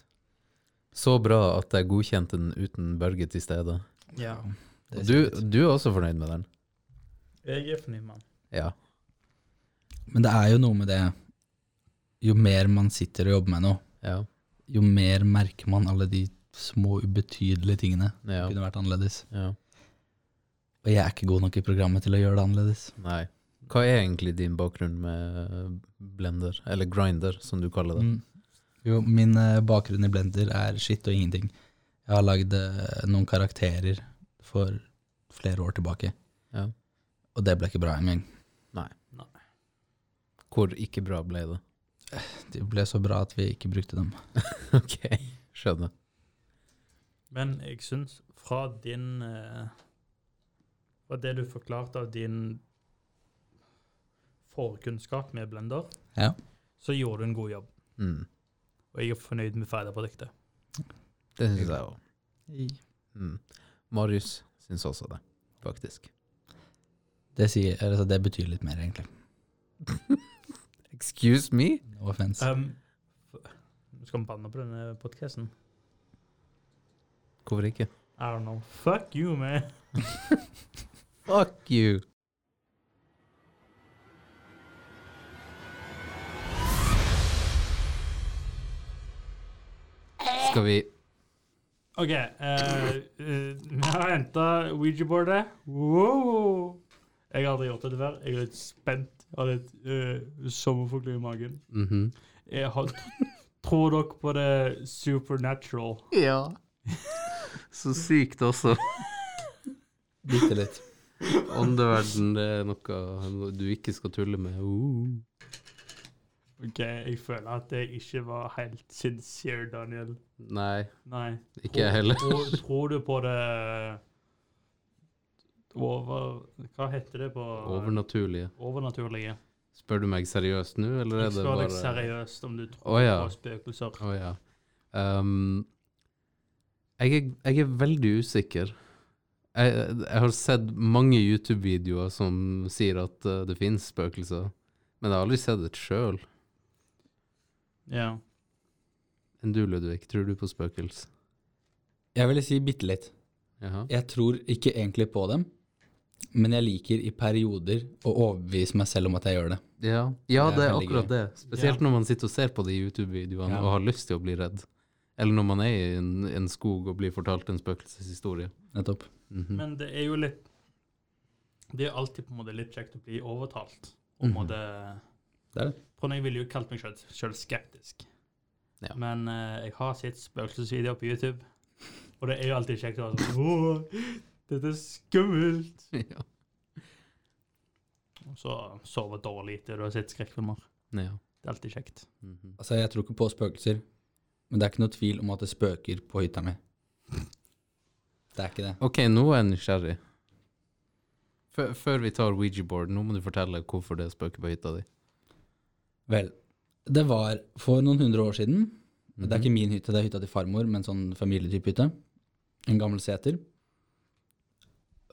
S3: Så bra at jeg godkjente den uten Børge til stede.
S2: Ja.
S3: Og
S4: Det er
S3: Du,
S4: sikkert.
S3: du er også fornøyd med den?
S2: Jeg er fornøyd mann.
S3: Ja.
S4: Men det er jo noe med det Jo mer man sitter og jobber med noe,
S3: ja.
S4: jo mer merker man alle de små, ubetydelige tingene
S3: Ja.
S4: kunne vært annerledes.
S3: ja.
S4: Og jeg er ikke god nok i programmet til å gjøre det annerledes.
S3: Nei. Hva er egentlig din bakgrunn med blender, eller grinder, som du kaller det?
S4: Mm. Jo, min eh, bakgrunn i Blender er skitt og ingenting. Jeg har lagd eh, noen karakterer for flere år tilbake,
S3: Ja.
S4: og det ble ikke bra engang. Mm.
S3: Hvor ikke bra ble det? [LAUGHS]
S4: De ble så bra at vi ikke brukte dem.
S3: Ok, skjønner.
S2: Men jeg syns fra din eh, Fra det du forklarte av din forkunnskap med blender,
S4: Ja.
S2: så gjorde du en god jobb.
S3: Mm.
S2: Og jeg er fornøyd med ferdigproduktet.
S3: Det syns jeg òg. Mm. Marius syns også det, faktisk.
S4: Det, sier, altså, det betyr litt mer, egentlig.
S3: Excuse me?
S4: No offense.
S2: Um, f- skal vi banne på denne podkasten?
S3: Hvorfor ikke?
S2: I don't know. Fuck you, man.
S3: Fuck you! Skal vi
S2: OK. eh, eh, Vi har henta Ouija-boardet. Wow. Jeg har aldri gjort det før. Jeg er litt spent. Jeg har litt uh, sommerfugler i magen.
S3: Mhm.
S2: Jeg har, tror dere på det supernatural?
S3: Ja. Så sykt altså. også.
S4: Bitte litt.
S3: Åndeverden, det er noe du ikke skal tulle med. Uh.
S2: Ok, jeg føler at det ikke var helt sincere, Daniel.
S3: Nei,
S2: Nei.
S3: ikke jeg heller.
S2: Tror, tror du på det eh, over... Hva heter det på
S3: Overnaturlige.
S2: Overnaturlige.
S3: Spør du meg seriøst nå, eller
S2: Jeg
S3: er det
S2: spør
S3: bare
S2: deg seriøst om du tror
S3: Å, ja.
S2: på spøkelser.
S3: Å ja. Ehm, jeg, er, jeg er veldig usikker. Jeg, jeg har sett mange YouTube-videoer som sier at eh, det finnes spøkelser, men jeg har aldri sett det sjøl.
S2: Ja.
S3: Enn du, Ludvig, tror du på spøkelser?
S4: Jeg ville si bitte litt.
S3: Jaha.
S4: Jeg tror ikke egentlig på dem, men jeg liker i perioder å overbevise meg selv om at jeg gjør det.
S3: Ja. ja,
S4: Det er
S3: det er
S4: veldig
S3: akkurat
S4: gøy.
S3: det. Spesielt når man sitter og ser på de YouTube-videoene
S4: Ja.
S3: og har lyst til å bli redd. Eller når man er i en, en skog og blir fortalt en spøkelseshistorie.
S4: Nettopp.
S3: Mhm.
S2: Men det er jo litt... Det er alltid på en måte litt kjekt å bli overtalt. På en
S3: Mhm.
S2: måte...
S4: Det er det.
S2: Tror jeg ville jo kalt meg selv, selv skeptisk.
S3: Ja.
S2: Men eh, jeg har sett spøkelsesvideoer på YouTube, og det er jo alltid kjekt å være sånn Åh, dette er skummelt!
S3: [LAUGHS] ja.
S2: Og så sove dårlig etter du har sett skrekkfilmer.
S3: ja.
S2: Det er alltid kjekt.
S3: Mhm.
S4: Altså, jeg tror ikke på spøkelser, men det er ikke noe tvil om at det spøker på hytta mi. Det er ikke det.
S3: Ok, nå er jeg nysgjerrig. Før, før vi tar Ouija-board, nå må du fortelle hvorfor det spøker på hytta di.
S4: Vel, det var for noen hundre år siden. Det er
S3: Mhm.
S4: ikke min hytte, det er hytta til farmor, men sånn familietype hytte. En gammel seter.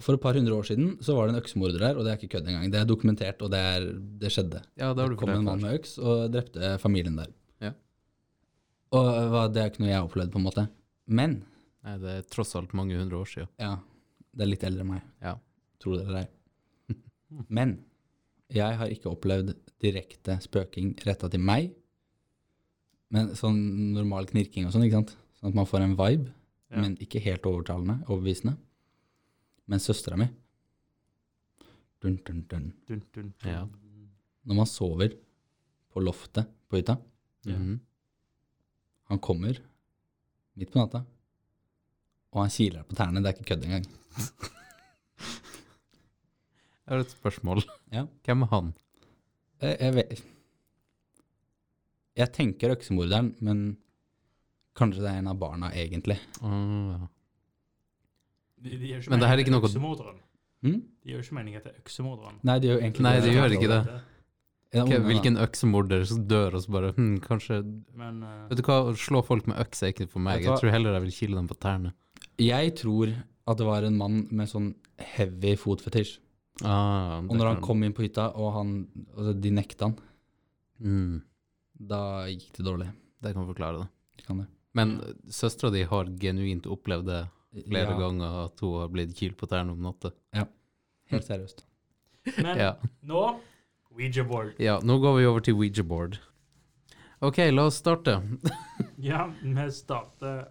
S4: For et par hundre år siden så var det en øksemorder der, og det er ikke kødd engang. Det er dokumentert, og det, er, det skjedde.
S3: Ja, det har du
S4: kom
S3: fortalt.
S4: en mann
S3: før.
S4: med øks og drepte familien der.
S3: Ja.
S4: Og hva, det er ikke noe jeg har opplevd, på en måte. Men
S3: Nei, det er tross alt mange hundre år siden.
S4: ja, det er litt eldre enn meg.
S3: Ja.
S4: Tror det eller ei. Men jeg har ikke opplevd direkte spøking retta til meg. Men sånn normal knirking og sånn, ikke sant. Sånn at man får en vibe,
S2: Ja.
S4: men ikke helt overtalende, overbevisende. Men søstera mi dun, dun, dun.
S2: Dun, dun, dun.
S3: Ja.
S4: Når man sover på loftet på hytta,
S2: Ja.
S3: Mhm.
S4: Han kommer midt på natta, og han kiler deg på tærne. Det er ikke kødd engang.
S3: Jeg har et spørsmål.
S4: Ja.
S3: Hvem er han?
S4: Jeg, Eh, jeg, vet- jeg tenker øksemorderen, men kanskje det er en av barna, egentlig.
S3: Å,
S4: Ah,
S3: ja.
S2: De, de gjør ikke
S3: Men det her er
S2: meningen
S3: ikke noe-
S2: til Øksemorderen.
S4: Hm?
S2: De gjør ikke meningen til øksemorderen.
S4: Nei, det gjør egentlig
S3: Nei, det gjør ikke det.
S4: Ja,
S3: Hva-
S4: ungene, da.
S3: Hvilken øksemorder som dør og så bare hm, Kanskje
S2: Men eh,
S3: Vet du hva, å slå folk med øks er ikke for meg.
S4: Vet du hva?
S3: Jeg tror heller jeg vil kile dem på tærne.
S4: Jeg tror at det var en mann med sånn heavy fotfetisj.
S3: Ah,
S4: Og når han kom inn på hytta, og han, altså, de nekta han,
S3: mm,
S4: da gikk det dårlig.
S3: Det kan forklare det.
S4: Kan det.
S3: Men søstera di har genuint opplevd det flere
S4: ja,
S3: ganger, at hun har blitt kilt på tærne om natta.
S4: Helt [LAUGHS] seriøst.
S2: men
S3: Ja.
S2: nå Ouija board.
S3: Ja, nå går vi over til Ouija board. [LAUGHS] Ok, la oss starte.
S2: Ja, vi starter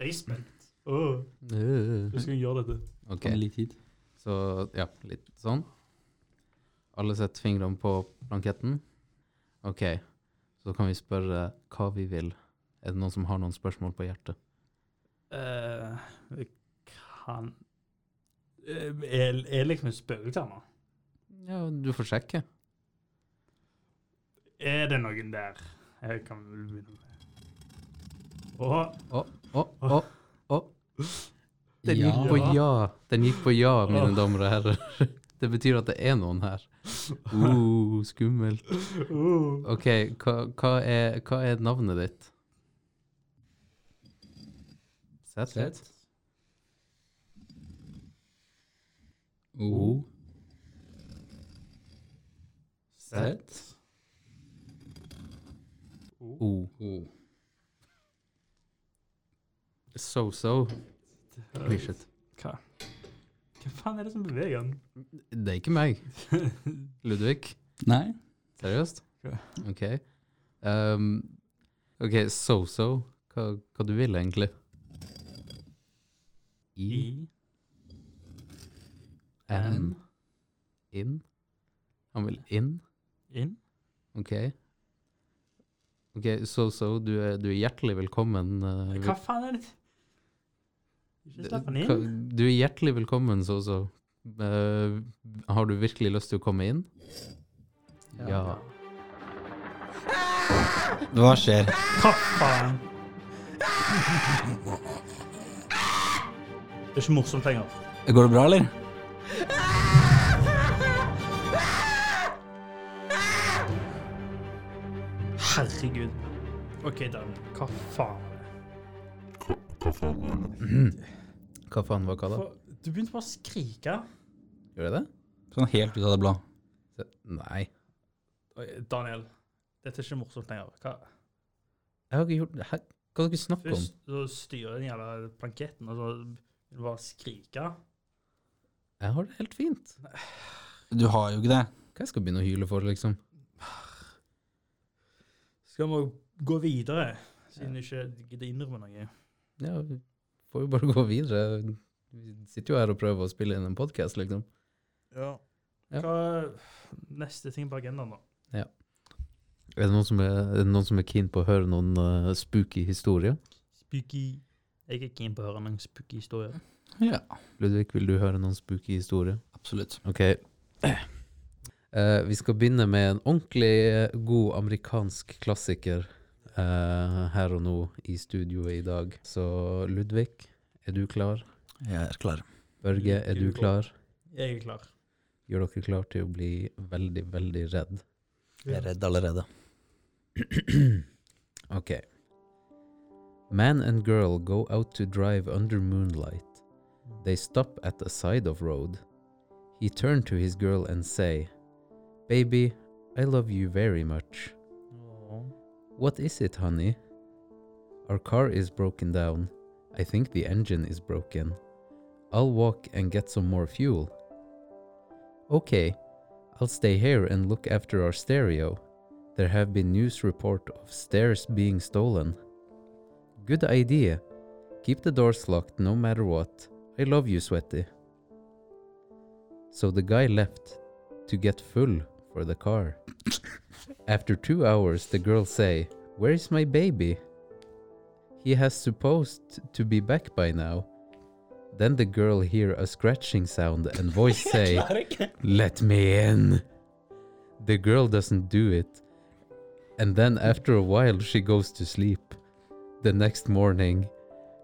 S2: Jeg er spent. Åh, hvordan skal jeg gjøre dette?
S3: Ok,
S4: Om litt tid.
S3: så ja, litt sånn. Alle setter fingrene på blanketten. Ok, så kan vi spørre hva vi vil. Er det noen som har noen spørsmål på hjertet?
S2: Eh, kan Eh, Er er liksom en spøkelse her nå?
S3: Ja, du får sjekke.
S2: Er det noen der? Jeg kan vel begynne med Åh,
S3: Å, å, å. Den
S4: Ja.
S3: gikk på
S2: Ja.
S3: ja. Den gikk på ja, mine damer og herrer. [LAUGHS] Det betyr at det er noen [LAUGHS] her. Uh, skummelt.
S2: åh.
S3: Ok, hva, hva, er, hva er navnet ditt? Sett.
S4: Sett.
S3: O.
S4: Sett.
S3: O. So-so. Klisjet.
S2: Hva? Hva faen er det som beveger den?
S3: Det er ikke [LAUGHS] meg. Ludvig.
S4: Nei?
S3: Seriøst?
S2: Ja.
S3: Ok. Um, ok, so-so. Hva, hva du vil egentlig? I, N, in. Han vil inn.
S2: Inn?
S3: Ok. Ok, so-so, du, er- du er hjertelig velkommen. eh,
S2: Hva faen er det Ikke slapp han inn.
S3: Hva- Du er hjertelig velkommen, so-so. Eh, har du virkelig lyst til å komme inn? Ja.
S4: Hva skjer?
S2: Hva faen? Det er ikke morsomt lenger.
S4: Går det bra, eller?
S2: Herregud. OK, Dan. Hva faen?
S3: Hva faen var hva da?
S2: For, du begynte bare å skrike.
S3: Gjør jeg det?
S4: Sånn helt ut av det blå.
S3: Se- Nei.
S2: Oi, Daniel, dette er ikke morsomt lenger. Hva,
S3: Jeg har ikke gjort Hæ? Hva er det dere snakker om?
S2: først så styrer den jævla planketten, og så begynner du bare å skrike.
S3: Jeg har det helt fint.
S4: Du har jo ikke det.
S3: Hva jeg skal begynne å hyle for, liksom?
S2: Skal vi gå videre, siden du ikke gidder innrømme noe?
S3: Ja, vi får jo bare [LAUGHS] gå videre. Vi sitter jo her og prøver å spille inn en podkast, liksom.
S2: Ja.
S3: Ja.
S2: Hva neste ting på agendaen, da?
S3: Er det noen som er, er, det noen som er keen på å høre noen eh, spooky historier?
S2: Spooky. Jeg er keen på å høre noen spooky historier.
S4: Ja,
S3: Ludvig, vil du høre noen spooky historier?
S4: absolutt.
S3: Ok. [CLEARS THROAT] Eh, vi skal begynne med en ordentlig eh, god amerikansk klassiker eh, her og nå i studioet i dag. Så Ludvig, er du klar?
S4: Jeg er klar.
S3: Børge, er du klar?
S2: Jeg er klar.
S3: Gjør dere klar til å bli veldig, veldig redd.
S4: Jeg er redd allerede.
S3: Okay. Man and girl go out to drive under moonlight. They stop at the side of road. He turned to his girl and say, "Baby, I love you very much. What is it, honey? Our car is broken down. I think the engine is broken. I'll walk and get some more fuel." Okay. I'll stay here and look after our stereo. There have been news report of stairs being stolen. Good idea. Keep the doors locked no matter what. I love you, Sweaty. So the guy left to get full for the car. After two hours, the girl say, "Where is my baby?" He has supposed to be back by now. Then the girl hear a scratching sound and voice say, "Let me in." The girl doesn't do it. And then after a while, she goes to sleep. The next morning,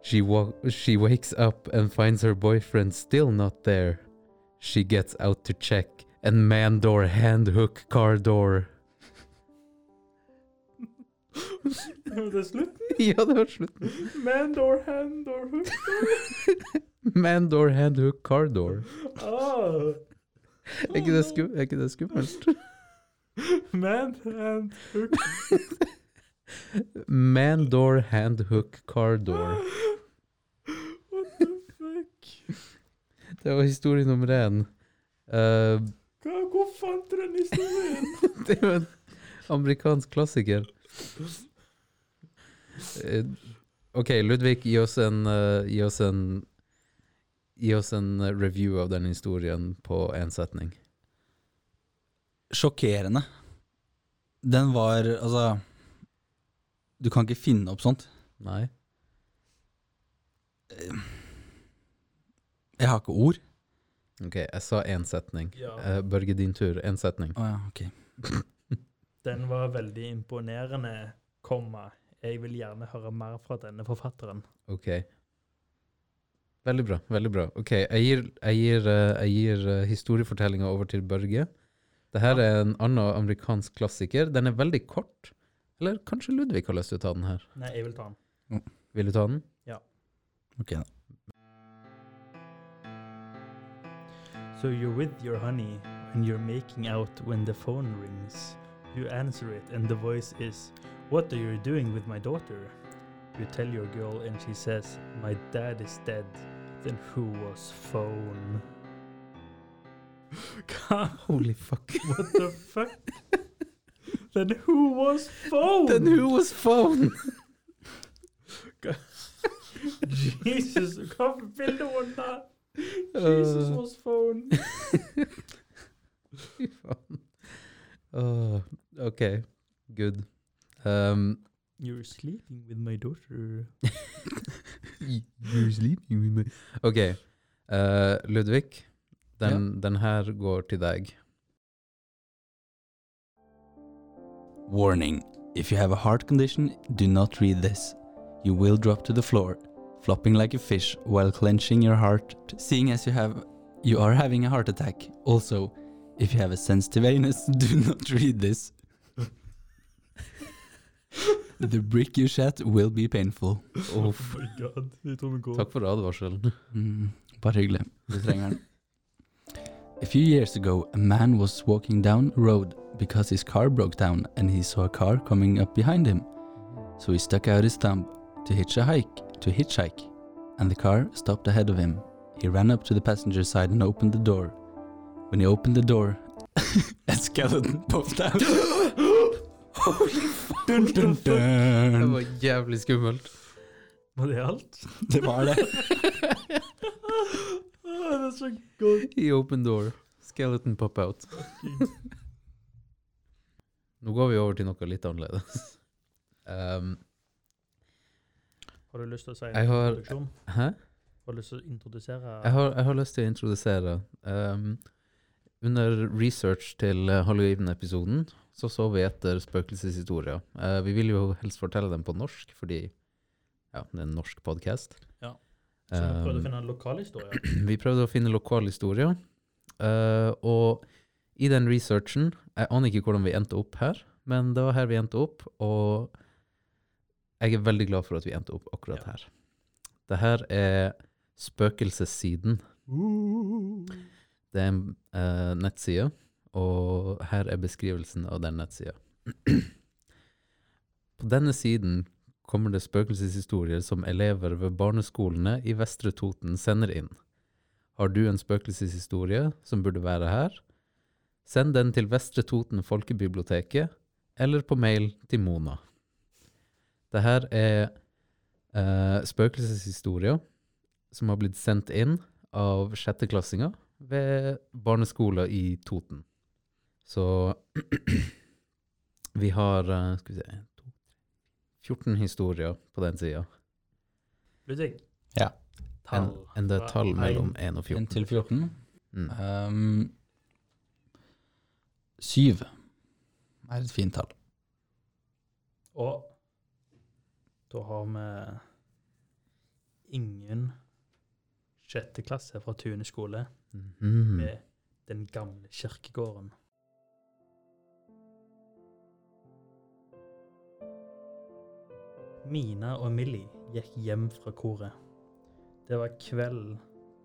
S3: she wa- she wakes up and finds her boyfriend still not there. She gets out to check, and man door, hand hook, car door. [LAUGHS]
S2: Det er slutt.
S3: ja, det var slutten.
S2: Man door, hand door, hook.
S3: [LAUGHS] Man door, hand hook, car door.
S2: Ah.
S3: Er ikke det, skum er ikke det skummelt?
S2: Man hand hook.
S3: Man door, hand hook, car door.
S2: What the fuck?
S3: Det var historie nummer én. Eh,
S2: Hva, hvor fant du den
S3: [LAUGHS]
S2: historien?
S3: det er jo en amerikansk klassiker. Eh, Ok, Ludvig, gi oss en, eh, gi oss en Gi oss en eh, review av den historien på én setning.
S4: Sjokkerende. Den var Altså, du kan ikke finne opp sånt.
S3: Nei?
S4: Jeg har ikke ord.
S3: Ok, jeg sa én setning.
S2: Ja.
S3: Eh, Børge, din tur. Én setning.
S4: Å ja, ok.
S2: Den var veldig imponerende, komma. Jeg vil gjerne høre mer fra denne forfatteren.
S3: Ok. Veldig bra. veldig bra. Ok, Jeg gir, jeg gir, eh, jeg gir eh, historiefortellinga over til Børge. Dette er en annen amerikansk klassiker. Den er veldig kort. Eller kanskje Ludvig har lyst til å ta den her.
S2: Nei, jeg vil ta den.
S3: Vil du ta den?
S4: Ok da.
S2: So you're with your honey, and you're making out when the phone rings. You answer it, and the voice is, What are you doing with my daughter? You tell your girl, and she says, My dad is dead. Then who was phone? [LAUGHS] Hva?
S3: Holy fuck.
S2: What the fuck? Then who was phone?
S3: Then who was [LAUGHS] phone?
S2: [LAUGHS] Jesus, hva vil du unna? Jesus
S3: Øh.
S2: was phone.
S3: Fy faen. Åh, ok, good. Um,
S2: You're sleeping with my daughter.
S3: ok, eh, Ludvig, den, den her går til deg.
S4: Warning. If you have a heart condition, do not read this. You will drop to the floor, flopping like a fish while clenching your heart, seeing as you have you are having a heart attack. Also, if you have a sensitive anus, [LAUGHS] do not read this. the brick you shat will be painful.
S3: Oh,
S2: my god, jeg tror vi går. [GASPS]
S3: Takk for advarselen.
S4: Mm, bare hyggelig. Du trenger den. A few years ago, a man was walking down a road because his car broke down and he saw a car coming up behind him. So he stuck out his thumb to hitch a hike, to hitchhike, and the car stopped ahead of him. He ran up to the passenger side and opened the door. When he opened the door, [LAUGHS] a skeleton popped out. Holy fuck! Dun, dun,
S3: Det
S4: dun.
S3: var jævlig skummelt.
S2: Var det alt? [LAUGHS]
S4: Det var det.
S2: Åh, Ah, det er så godt.
S3: I open door. Skeleton pop out. Nå går vi over til noe litt annerledes. [LAUGHS] Um,
S2: Har du lyst til å si en
S3: Jeg har-
S2: introduksjon?
S3: hæ?
S2: Har du lyst til å introdusere?
S3: Jeg har, jeg har lyst til å introdusere ehm, Under research til eh, Halloween-episoden så så vi etter spøkelseshistorier. Eh, vi vil jo helst fortelle dem på norsk, fordi ja, det er en norsk podkast.
S2: Ja. Så vi
S3: eh,
S2: prøvde å finne en lokal historie.
S3: [CLEARS THROAT] vi prøvde å finne lokale historier. eh, og i den researchen Jeg aner ikke hvordan vi endte opp her, men det var her vi endte opp, og jeg er veldig glad for at vi endte opp akkurat
S2: Ja.
S3: her. Det her er spøkelsessiden det er en eh, nettside, og her er beskrivelsen av den nettsida. [CLEARS THROAT] På denne siden kommer det spøkelseshistorier som elever ved barneskolene i Vestre Toten sender inn. Har du en spøkelseshistorie som burde være her? Send den til Vestre Toten folkebiblioteket, eller på mail til Mona. Det her er eh, spøkelseshistorier som har blitt sendt inn av sjetteklassinger ved barneskoler i Toten. Så [CLEARS THROAT] vi har eh, skal vi se, en, to, tre, 14 historier på den sida.
S2: Ludvig?
S4: Ja.
S2: Tall.
S3: Enn det er
S2: Fra
S3: tall
S2: en-
S3: mellom 1 og 14.
S4: En til 14.
S3: Mm.
S4: Um, syv er et fint tall.
S2: Og da har vi ingen sjette klasse fra Tune skole
S3: Mhm.
S2: med den gamle kirkegården. Mina og Millie gikk hjem fra koret. Det var kveld,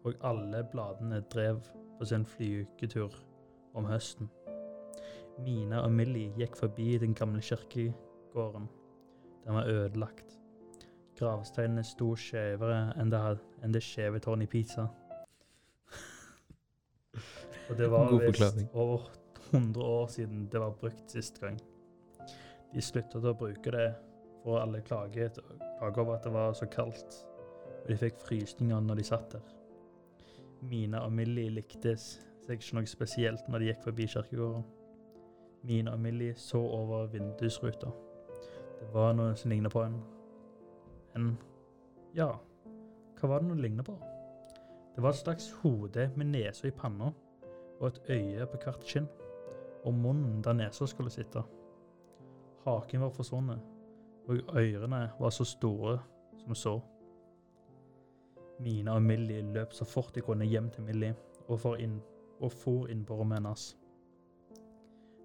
S2: og alle bladene drev på sin flyuketur om høsten. Mina og Millie gikk forbi den gamle kirkegården. Den var ødelagt. Gravsteinene sto skjevere enn det, had- enn det skjeve tårnet i
S3: [LAUGHS]
S2: Pisa. Og det var
S3: God
S2: visst
S3: forklaring.
S2: over 100 år siden det var brukt sist gang. De sluttet å bruke det For alle klager et- klager over at det var så kaldt. Og de fikk frysninger når de satt der. Mina og Millie likte s- seg ikke noe spesielt når de gikk forbi kirkegården. Mina og Millie så over vindusruta. Det var noe som lignet på en En Ja, hva var det noe lignet på? Det var et slags hode med nesa i panna og et øye på hvert kinn. Og munnen der nesa skulle sitte. Haken var forsvunnet og ørene var så store som så. Mina og Millie løp så fort de kunne hjem til Millie og for inn, og for inn på rommet hennes.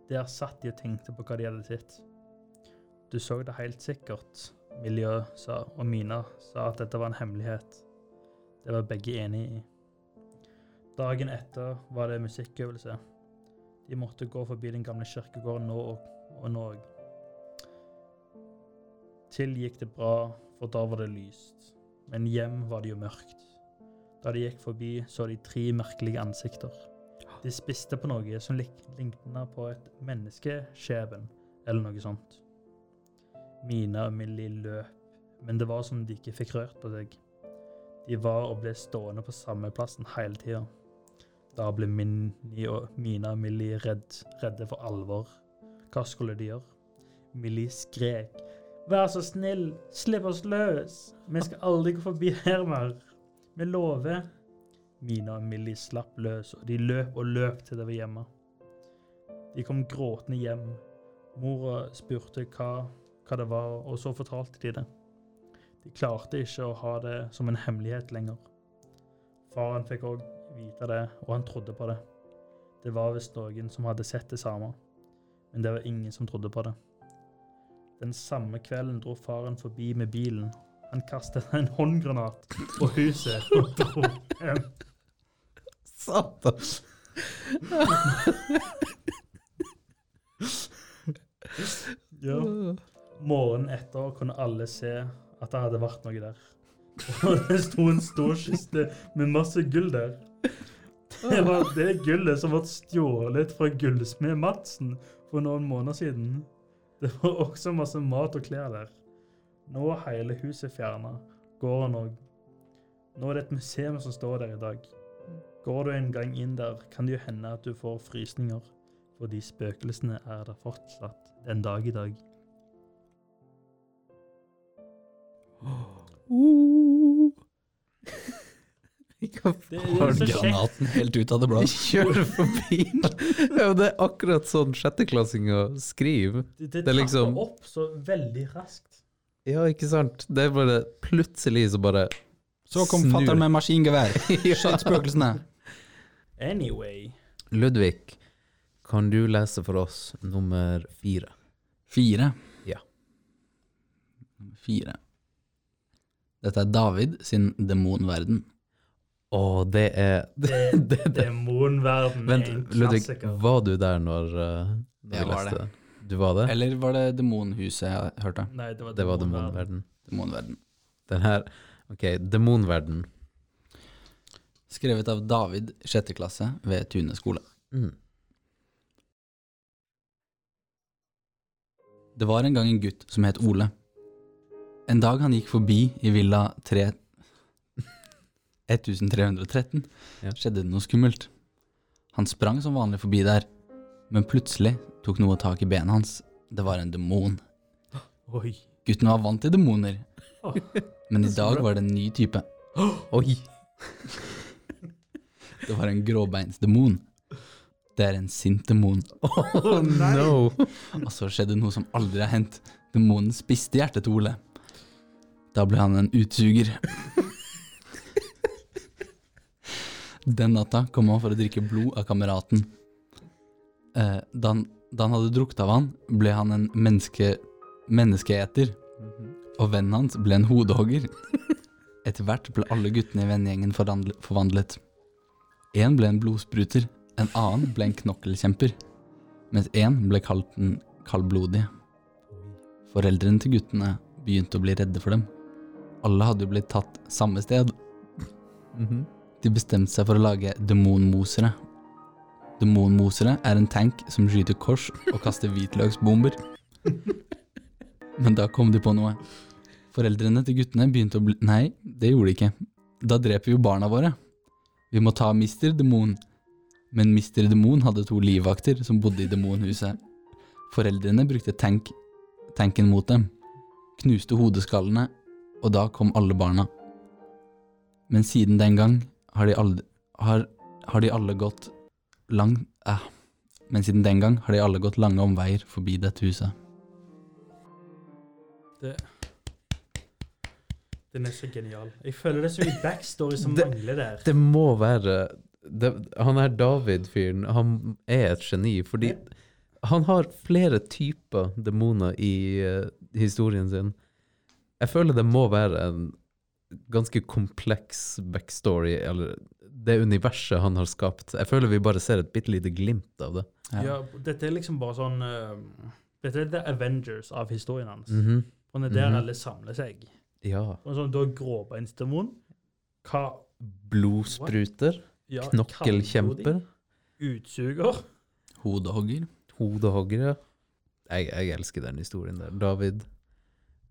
S2: Der satt de og tenkte på hva de hadde sett. Du så det helt sikkert, Millie sa, og Mina sa at dette var en hemmelighet. Det var begge enige i. Dagen etter var det musikkøvelse. De måtte gå forbi den gamle kirkegården nå og, og nå òg. Til gikk det bra, for da var det lyst. Men hjem var det jo mørkt. Da de gikk forbi, så de tre merkelige ansikter. De spiste på noe som lik- lignet på et menneskeskjeben, eller noe sånt. Mina og Millie løp, men det var som de ikke fikk rørt på seg. De var og ble stående på samme plassen hele tida. Da ble Min og Mina og Millie redd, redde for alvor. Hva skulle de gjøre? Millie skrek. Vær så snill, slipp oss løs. Vi skal aldri gå forbi her mer. Vi lover. Mina og Millie slapp løs, og de løp og løp til det var hjemme. De kom gråtende hjem. Mora spurte hva, hva det var, og så fortalte de det. De klarte ikke å ha det som en hemmelighet lenger. Faren fikk òg vite det, og han trodde på det. Det var visst noen som hadde sett det samme, men det var ingen som trodde på det. Den samme kvelden dro faren forbi med bilen. Han kastet en håndgranat på huset og dro hjem.
S3: Satan!
S2: Ja. Morgenen etter kunne alle se at det hadde vært noe der. [LAUGHS] Og det sto en stor kiste med masse gull der. Det var det gullet som ble stjålet fra gullsmed Madsen for noen måneder siden. Det var også masse mat og klær der. Nå er hele huset fjerna. Gården òg. Nå er det et museum som står der i dag. Går du en gang inn der, kan det jo hende at du får frysninger. Fordi spøkelsene er der fortsatt den dag i dag.
S3: Hva
S2: Det-
S3: faen?
S2: det-
S4: Granaten helt ut av det blå.
S3: Kjøre forbi! Ja, men det er akkurat sånn sjetteklassinger skriver.
S2: Det,
S3: Det er
S2: trapper
S3: liksom-
S2: opp så veldig raskt.
S3: Ja, ikke sant? Det er bare plutselig så bare
S4: Så kom
S3: Snur.
S4: fatter'n med [LAUGHS] maskingevær. Skjøt spøkelsene.
S2: Anyway.
S3: Ludvig, kan du lese for oss nummer fire?
S4: Fire.
S3: Ja.
S4: Fire. Dette er David sin demonverden.
S3: Å, det er [LAUGHS]
S2: Det, demonverden
S3: Vent,
S2: er en
S3: Ludvig,
S2: klassiker.
S3: var du der når uh, når
S4: Jeg
S3: vi
S4: var
S3: leste det? Du var det?
S4: Eller var det demonhuset jeg hørte?
S2: Nei, det var
S3: Det var
S2: demonverden.
S3: demonverden.
S4: Demonverden.
S3: Den her Ok, demonverden.
S4: Skrevet av David, sjette klasse, ved Tune skole.
S3: Mm.
S4: Det var en gang en gutt som het Ole. En dag han gikk forbi i villa 3... 1313,
S3: Ja.
S4: skjedde det noe skummelt. Han sprang som vanlig forbi der, men plutselig tok noe tak i benet hans. Det var en demon.
S2: Oi.
S4: Gutten var vant til demoner,
S2: Åh.
S4: men i dag var det en ny type.
S3: Oi! [LAUGHS]
S4: Det var en gråbeinsdemon. Det er en sint demon.
S3: Oh, no!
S4: Og så skjedde noe som aldri har hendt. Demonen spiste hjertet til Ole. Da ble han en utsuger. Den natta kom han for å drikke blod av kameraten. Eh, Da han, da han hadde drukket av han, ble han en menneske, menneskeeter,
S3: Mhm.
S4: og vennen hans ble en hodehogger. Etter hvert ble alle guttene i vennegjengen forandl- forvandlet. Én ble en blodspruter, en annen ble en knokkelkjemper mens én ble kalt den kaldblodig. Foreldrene til guttene begynte å bli redde for dem. Alle hadde jo blitt tatt samme sted.
S3: Mhm.
S4: De bestemte seg for å lage demonmosere. Demonmosere er en tank som skyter kors og kaster hvitløksbomber. Men da kom de på noe. Foreldrene til guttene begynte å bli Nei, det gjorde de ikke. Da dreper vi jo barna våre. Vi må ta Mr. Demon. Men Mr. Demon hadde to livvakter som bodde i demonhuset. Foreldrene brukte tank, tanken mot dem, knuste hodeskallene, og da kom alle barna. Men siden den gang har de alle, har, har de alle gått lang... Eh. Men siden den gang har de alle gått lange omveier forbi dette huset.
S2: Den er så genial. Jeg føler det er så mye backstory som
S3: [LAUGHS] Det-
S2: mangler der.
S3: Det må være det, Han her David-fyren, han er et geni, fordi han har flere typer demoner i eh, historien sin. Jeg føler det må være en ganske kompleks backstory, eller det universet han har skapt. Jeg føler vi bare ser et bitte lite glimt av det.
S4: Ja.
S2: Ja, dette er liksom bare sånn eh, Dette er The Avengers av historien hans.
S3: Mhm.
S2: Og det er der
S3: Mhm.
S2: alle samler seg.
S3: Ja.
S2: Og sånn, da gråbeinsdemon Hva
S3: Blodspruter,
S2: ja,
S3: knokkelkjemper,
S2: kallblod, Utsuger.
S4: Hodehogger.
S3: hodehoggere. Jeg, jeg elsker den historien der. David,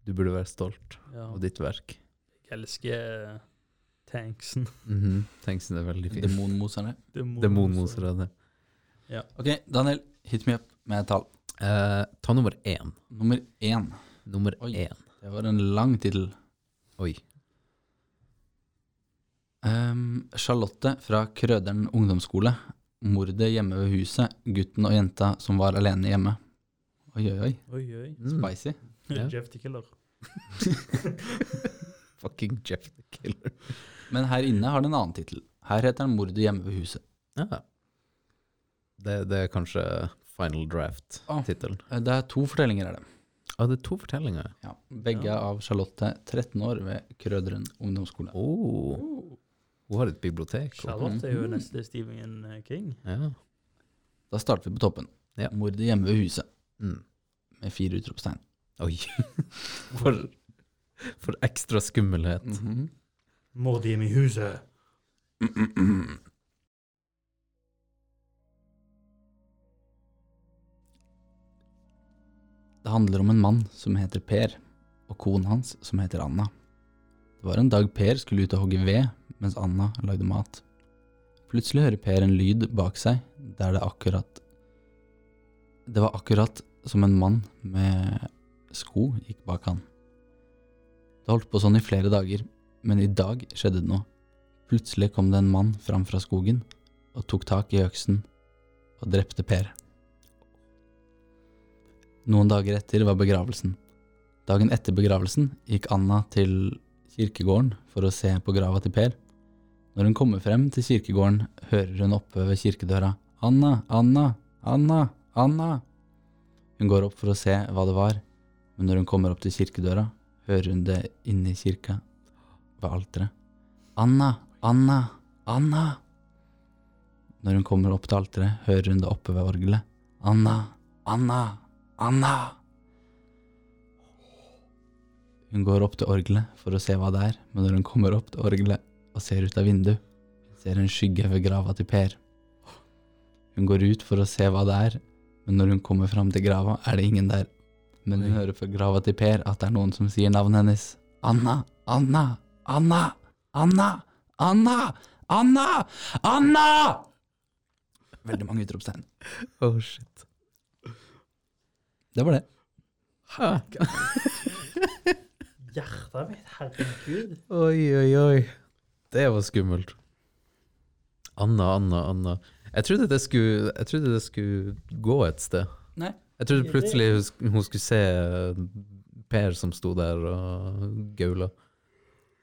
S3: du burde være stolt
S2: Ja,
S3: av ditt verk.
S2: jeg elsker tanksen.
S3: Mhm, Tanksen er veldig fin.
S4: Demonmoserne.
S2: Demon-
S3: Demonmosere det.
S4: Ok, Daniel, hit me up med et tall.
S3: Eh, ta nummer én.
S4: Nummer én.
S3: Nummer
S4: Oi.
S3: én.
S4: Det var en lang tittel.
S3: Oi.
S4: Ehm, Charlotte fra Krøderen ungdomsskole. Mordet hjemme ved huset. Gutten og jenta som var alene hjemme. Oi, oi, oi.
S2: Oi, oi.
S3: Mm. [LAUGHS]
S4: Spicy.
S3: Ja.
S2: [LAUGHS] Jeff the Killer.
S3: Fucking Jeff the Killer.
S4: Men her inne har den en annen tittel. Her heter den 'Mordet hjemme ved huset'.
S3: Ja. Det, det er kanskje final draft-tittelen.
S4: Eh, Det er to fortellinger, er det.
S3: Ja, det er to fortellinger.
S4: Ja. Begge
S2: Ja.
S4: er av Charlotte, 13 år, ved Krøderen ungdomsskole.
S3: Oh, Mm. hun har et bibliotek. hun.
S2: Charlotte er jo
S4: Mhm.
S2: neste Stephen King.
S3: Ja.
S4: Da starter vi på toppen.
S3: Ja.
S4: 'Mordet hjemme ved huset'
S3: Mm.
S4: med fire utropstegn.
S3: Oi. [LAUGHS] For, for ekstra skummelhet.
S2: Mord hjemme i huset.
S4: Det handler om en mann som heter Per, og konen hans som heter Anna. Det var en dag Per skulle ut og hogge ved, mens Anna lagde mat. Plutselig hører Per en lyd bak seg, der det akkurat Det var akkurat som en mann med sko gikk bak han. Det holdt på sånn i flere dager, men i dag skjedde det noe. Plutselig kom det en mann fram fra skogen og tok tak i øksen og drepte Per. Noen dager etter var begravelsen. Dagen etter begravelsen gikk Anna til kirkegården for å se på grava til Per. Når hun kommer frem til kirkegården, hører hun oppe ved kirkedøra Anna, Anna, Anna, Anna. Hun går opp for å se hva det var, men når hun kommer opp til kirkedøra, hører hun det inne i kirka ved alteret. Anna, Anna, Anna. Når hun kommer opp til alteret, hører hun det oppe ved orgelet. Anna, Anna, Anna. Hun går opp til orgelet for å se hva det er, men når hun kommer opp til orgelet og ser ut av vinduet, ser hun skygge ved grava til Per. Hun går ut for å se hva det er, men når hun kommer fram til grava, er det ingen der. Men hun hører fra grava til Per at det er noen som sier navnet hennes. Anna, Anna, Anna, Anna, Anna, Anna, Anna! Veldig mange utropstegn.
S3: Oh, shit.
S4: Det var det.
S3: Hæ?
S2: Hjertet mitt, herregud.
S3: Oi, oi, oi. Det var skummelt. Anna, Anna, Anna. Jeg trodde det skulle, jeg trodde det skulle gå et sted.
S4: Nei.
S3: Jeg trodde
S2: Ja, det-
S3: plutselig hun sk- hun skulle se eh, Per som sto der og gaula.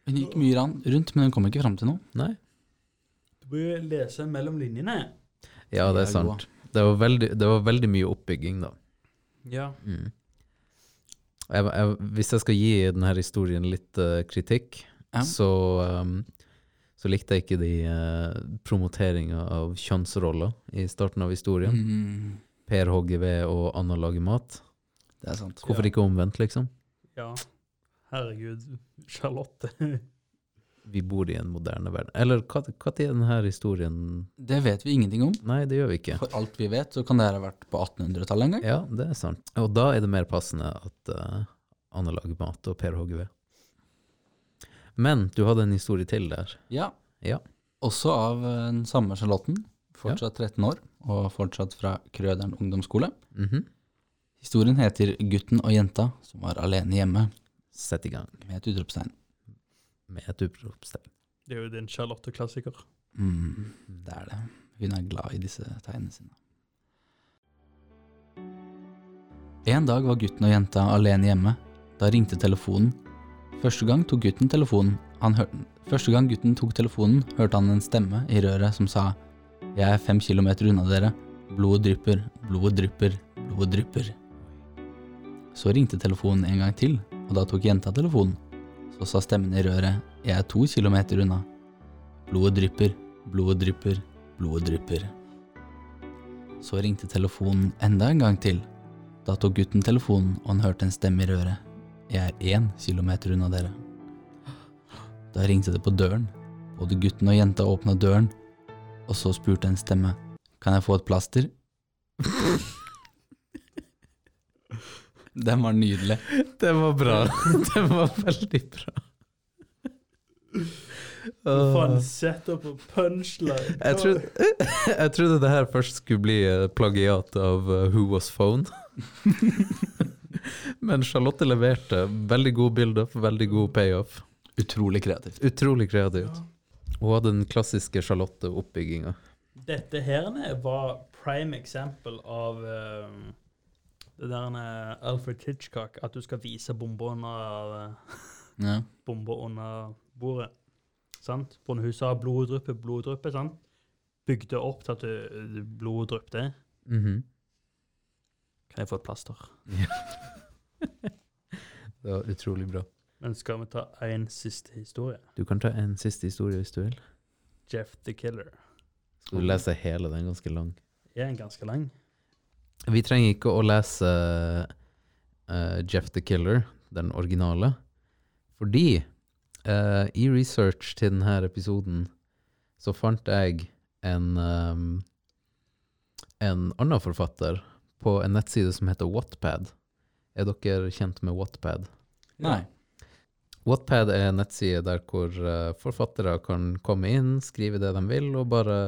S4: Hun gikk mye ran- rundt, men hun kom ikke fram til noe.
S3: Nei.
S2: Du må jo lese mellom linjene.
S3: Ja, det er sant. Det var veldig, det var veldig mye oppbygging, da.
S2: Ja.
S3: Mm. Jeg, jeg, hvis jeg skal gi denne historien litt eh, kritikk,
S4: Ja.
S3: så, um, så likte jeg ikke de uh, promoteringa av kjønnsroller i starten av historien.
S4: Mm,
S3: Per hogger ved og Anna lager mat.
S4: det er sant.
S3: Hvorfor
S2: Ja.
S3: ikke omvendt, liksom?
S2: ja. Herregud. Charlotte.
S3: Vi bor i en moderne verden. Eller hva når er denne historien
S4: Det vet vi ingenting om.
S3: Nei, det gjør vi ikke.
S4: For alt vi vet, så kan det her ha vært på 1800-tallet en gang.
S3: Ja, det er sant. Og da er det mer passende at eh, Anne lager mat og Per hogger ved. Men du hadde en historie til der.
S4: Ja.
S3: Ja.
S4: Også av eh, den samme Charlotten. Fortsatt 13 år, og fortsatt fra Krøderen ungdomsskole.
S3: Mhm.
S4: Historien heter 'Gutten og jenta som var alene hjemme'
S3: Sett i gang
S4: med et utropstegn.
S3: med et utropstegn.
S2: Det er jo din Charlotte-klassiker.
S4: Mm, det er det. Hun er glad i disse tegnene sine. En dag var gutten og jenta alene hjemme. Da ringte telefonen. Første gang tok gutten telefonen. Han hørte, første gang gutten tok telefonen, hørte han en stemme i røret som sa Jeg er fem kilometer unna dere. Blodet drypper, blodet drypper, blodet drypper. Så ringte telefonen en gang til, og da tok jenta telefonen. Så sa stemmen i røret Jeg er to kilometer unna. Blodet drypper, blodet drypper, blodet drypper. Så ringte telefonen enda en gang til. Da tok gutten telefonen, og han hørte en stemme i røret. Jeg er én kilometer unna dere. Da ringte det på døren. Både gutten og jenta åpna døren, og så spurte en stemme. Kan jeg få et plaster? Den var nydelig.
S3: Det var bra. [LAUGHS] Det var veldig bra.
S2: Faen, sett opp og punchline.
S3: Ah. Jeg trodde, [LAUGHS] jeg trodde det her først skulle bli eh, plagiat av eh, Who Was Phone. [LAUGHS] Men Charlotte leverte veldig god build-up, veldig god payoff.
S4: Utrolig kreativt.
S3: Utrolig kreativt. Hun hadde den klassiske Charlotte-oppbygginga.
S2: Dette her nede var prime eksempel av eh, det der nede Alfred Hitchcock, at du skal vise eh, bomber under,
S4: Ja.
S2: bomber under bordet. Sant? Bondehuset har bloddryppe, bloddryppe, sant? Bygde opp til at du- du- blodet dryppte.
S3: Mhm.
S2: Kan jeg få et plaster?
S3: Det var utrolig bra.
S2: Men skal vi ta en siste historie?
S3: Du kan ta en siste historie hvis du vil.
S2: Jeff the Killer.
S3: Skal du lese hele, den er ganske lang.
S2: Er en ganske lang.
S3: Vi trenger ikke å lese eh, Jeff the Killer, den originale, fordi eh, i research til denne episoden så fant jeg en, ehm, en annen forfatter på en nettside som heter Wattpad. Er dere kjent med Wattpad?
S4: Nei.
S3: Wattpad er en nettside der hvor eh, forfattere kan komme inn, skrive det de vil, og bare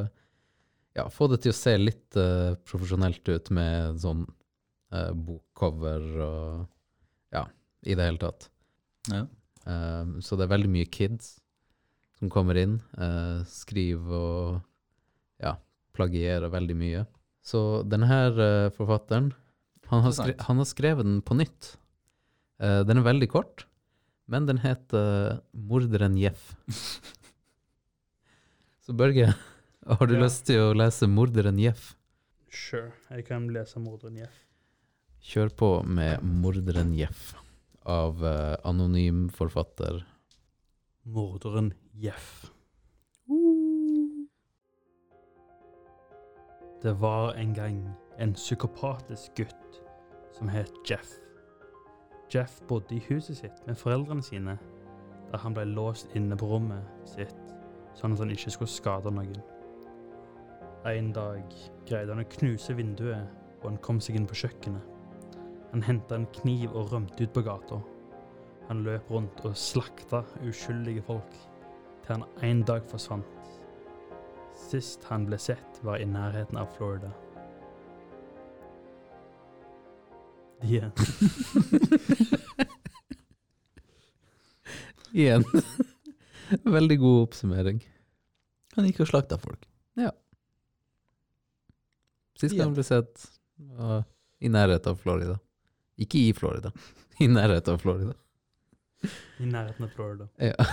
S3: ja, få det til å se litt eh, profesjonelt ut med sånn eh, bokcover og ja, i det hele tatt.
S4: Ja.
S3: Eh, så det er veldig mye kids som kommer inn, eh, skriver og ja, plagierer veldig mye. Så denne her eh, forfatteren, han har, skre
S4: Interessant.
S3: han har skrevet den på nytt. Eh, den er veldig kort. Men den heter Morderen Jeff. Så Børge, [LAUGHS] har du
S2: Ja.
S3: lyst til å lese Morderen Jeff?
S2: Sure. Jeg kan lese morderen Jeff.
S3: Kjør på med Morderen Jeff av eh, anonym forfatter.
S2: Morderen Jeff. Det var en gang en psykopatisk gutt som het Jeff. Jeff bodde i huset sitt med foreldrene sine, der han ble låst inne på rommet sitt, sånn at han ikke skulle skade noen. En dag greide han å knuse vinduet, og han kom seg inn på kjøkkenet. Han hentet en kniv og rømte ut på gata. Han løp rundt og slakta uskyldige folk, til han en dag forsvant. Sist han ble sett, var i nærheten av Florida. Igjen.
S3: Igjen. [LAUGHS] Veldig god oppsummering.
S4: Han gikk og slakta folk.
S3: Sist
S4: Igjen.
S3: gang ble sett var i nærheten av Florida. Ikke i Florida, [LAUGHS] i nærheten av Florida.
S2: I nærheten av Florida.
S3: Ja.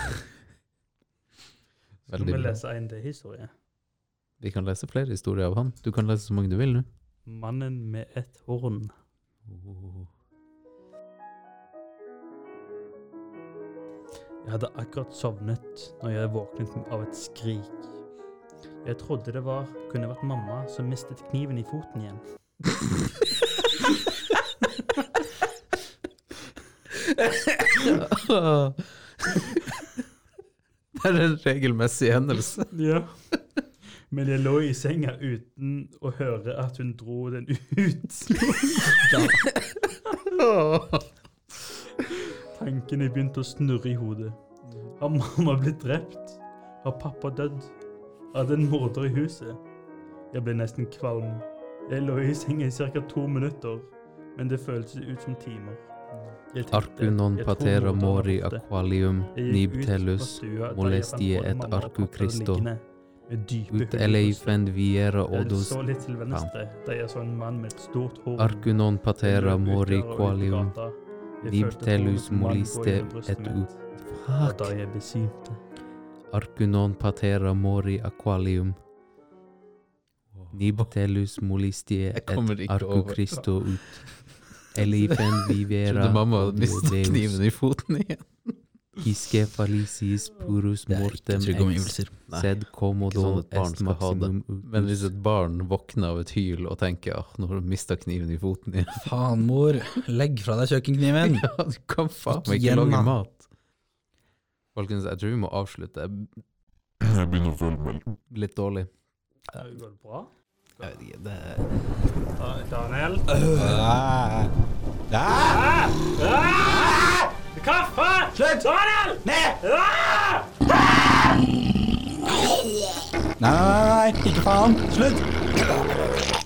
S2: Skal
S3: Veldig
S2: vi
S3: bra.
S2: lese en til historie?
S3: [LAUGHS] Vi kan lese flere historier av han. Du kan lese så mange du
S4: [LAUGHS]
S3: vil nå. [LAUGHS]
S2: Mannen med et horn. Jeg hadde akkurat sovnet når jeg våknet av et skrik. Jeg trodde det var, kunne vært mamma som mistet kniven i foten igjen.
S3: det er en regelmessig
S4: [LAUGHS]
S3: hendelse.
S2: Ja. [LAUGHS] Men jeg lå i senga uten å høre at hun [LAUGHS] dro den ut. Tankene begynte å snurre i hodet. Har mamma blitt drept? Har pappa dødd? Er det en morder i huset? Jeg ble nesten kvalm. Jeg lå i senga i ca. to minutter, men det føltes ut som timer. Jeg tenkte,
S3: Arcu non
S2: jeg tror
S3: patera
S2: morderen er
S3: mori
S2: borte.
S3: aqualium
S2: Jeg gikk
S3: nib
S2: ut fra
S3: tellus
S2: stua der
S3: molestie
S2: jeg fant både
S3: et
S2: mamma og
S3: arcu
S2: pappa
S3: Christo.
S2: liggende med dype
S3: ut
S2: huller i brystet.
S3: eleifend viera
S2: Jeg
S3: odus
S2: så litt til venstre, der jeg så en mann med et stort horn.
S3: arcu non patera
S2: Jeg løp ut
S3: mori
S2: døra og ut i
S3: qualium
S2: gata. Jeg
S3: nib
S2: følte at en
S3: tellus
S2: mann går
S3: moliste
S2: gjennom brystet
S3: et
S2: mitt,
S3: ut
S2: og
S3: fuck
S2: Da jeg besvimte.
S3: arcu non patera mori aqualium nib tellus molestie
S5: Jeg
S3: et
S5: kommer ikke
S3: arcu
S5: over.
S3: Christo ut
S5: [LAUGHS]
S3: eleifend vivera
S5: Trodde mamma hadde mistet
S3: odus
S5: kniven i foten igjen.
S3: hisce falicis purus
S4: Det er ikke
S3: mortem
S4: trygge
S3: ex
S4: omgivelser.
S5: Nei.
S3: sed
S5: Ikke
S3: commodo
S5: sånn at barn
S3: est
S5: skal ha det.
S3: maximum Men utus
S5: [LAUGHS]
S3: hvis et barn våkner av et hyl og tenker ah, 'nå har du mista kniven i foten igjen',
S4: Faen, mor. Legg fra deg kjøkkenkniven.
S3: ja, du kan faen meg ikke
S4: Igjen,
S3: lage
S4: da.
S3: mat. Folkens, jeg tror vi må avslutte. Jeg
S5: Jeg begynner å føle meg
S3: er Litt dårlig.
S2: Ja, det går bra.
S3: Jeg vet ikke, det
S2: Da- Daniel?
S4: Ah. Ah.
S2: Ah! Hva faen? Slutt! Daniel! Ah!
S4: Nou, Nei, nei, nei, ikke faen. Slutt.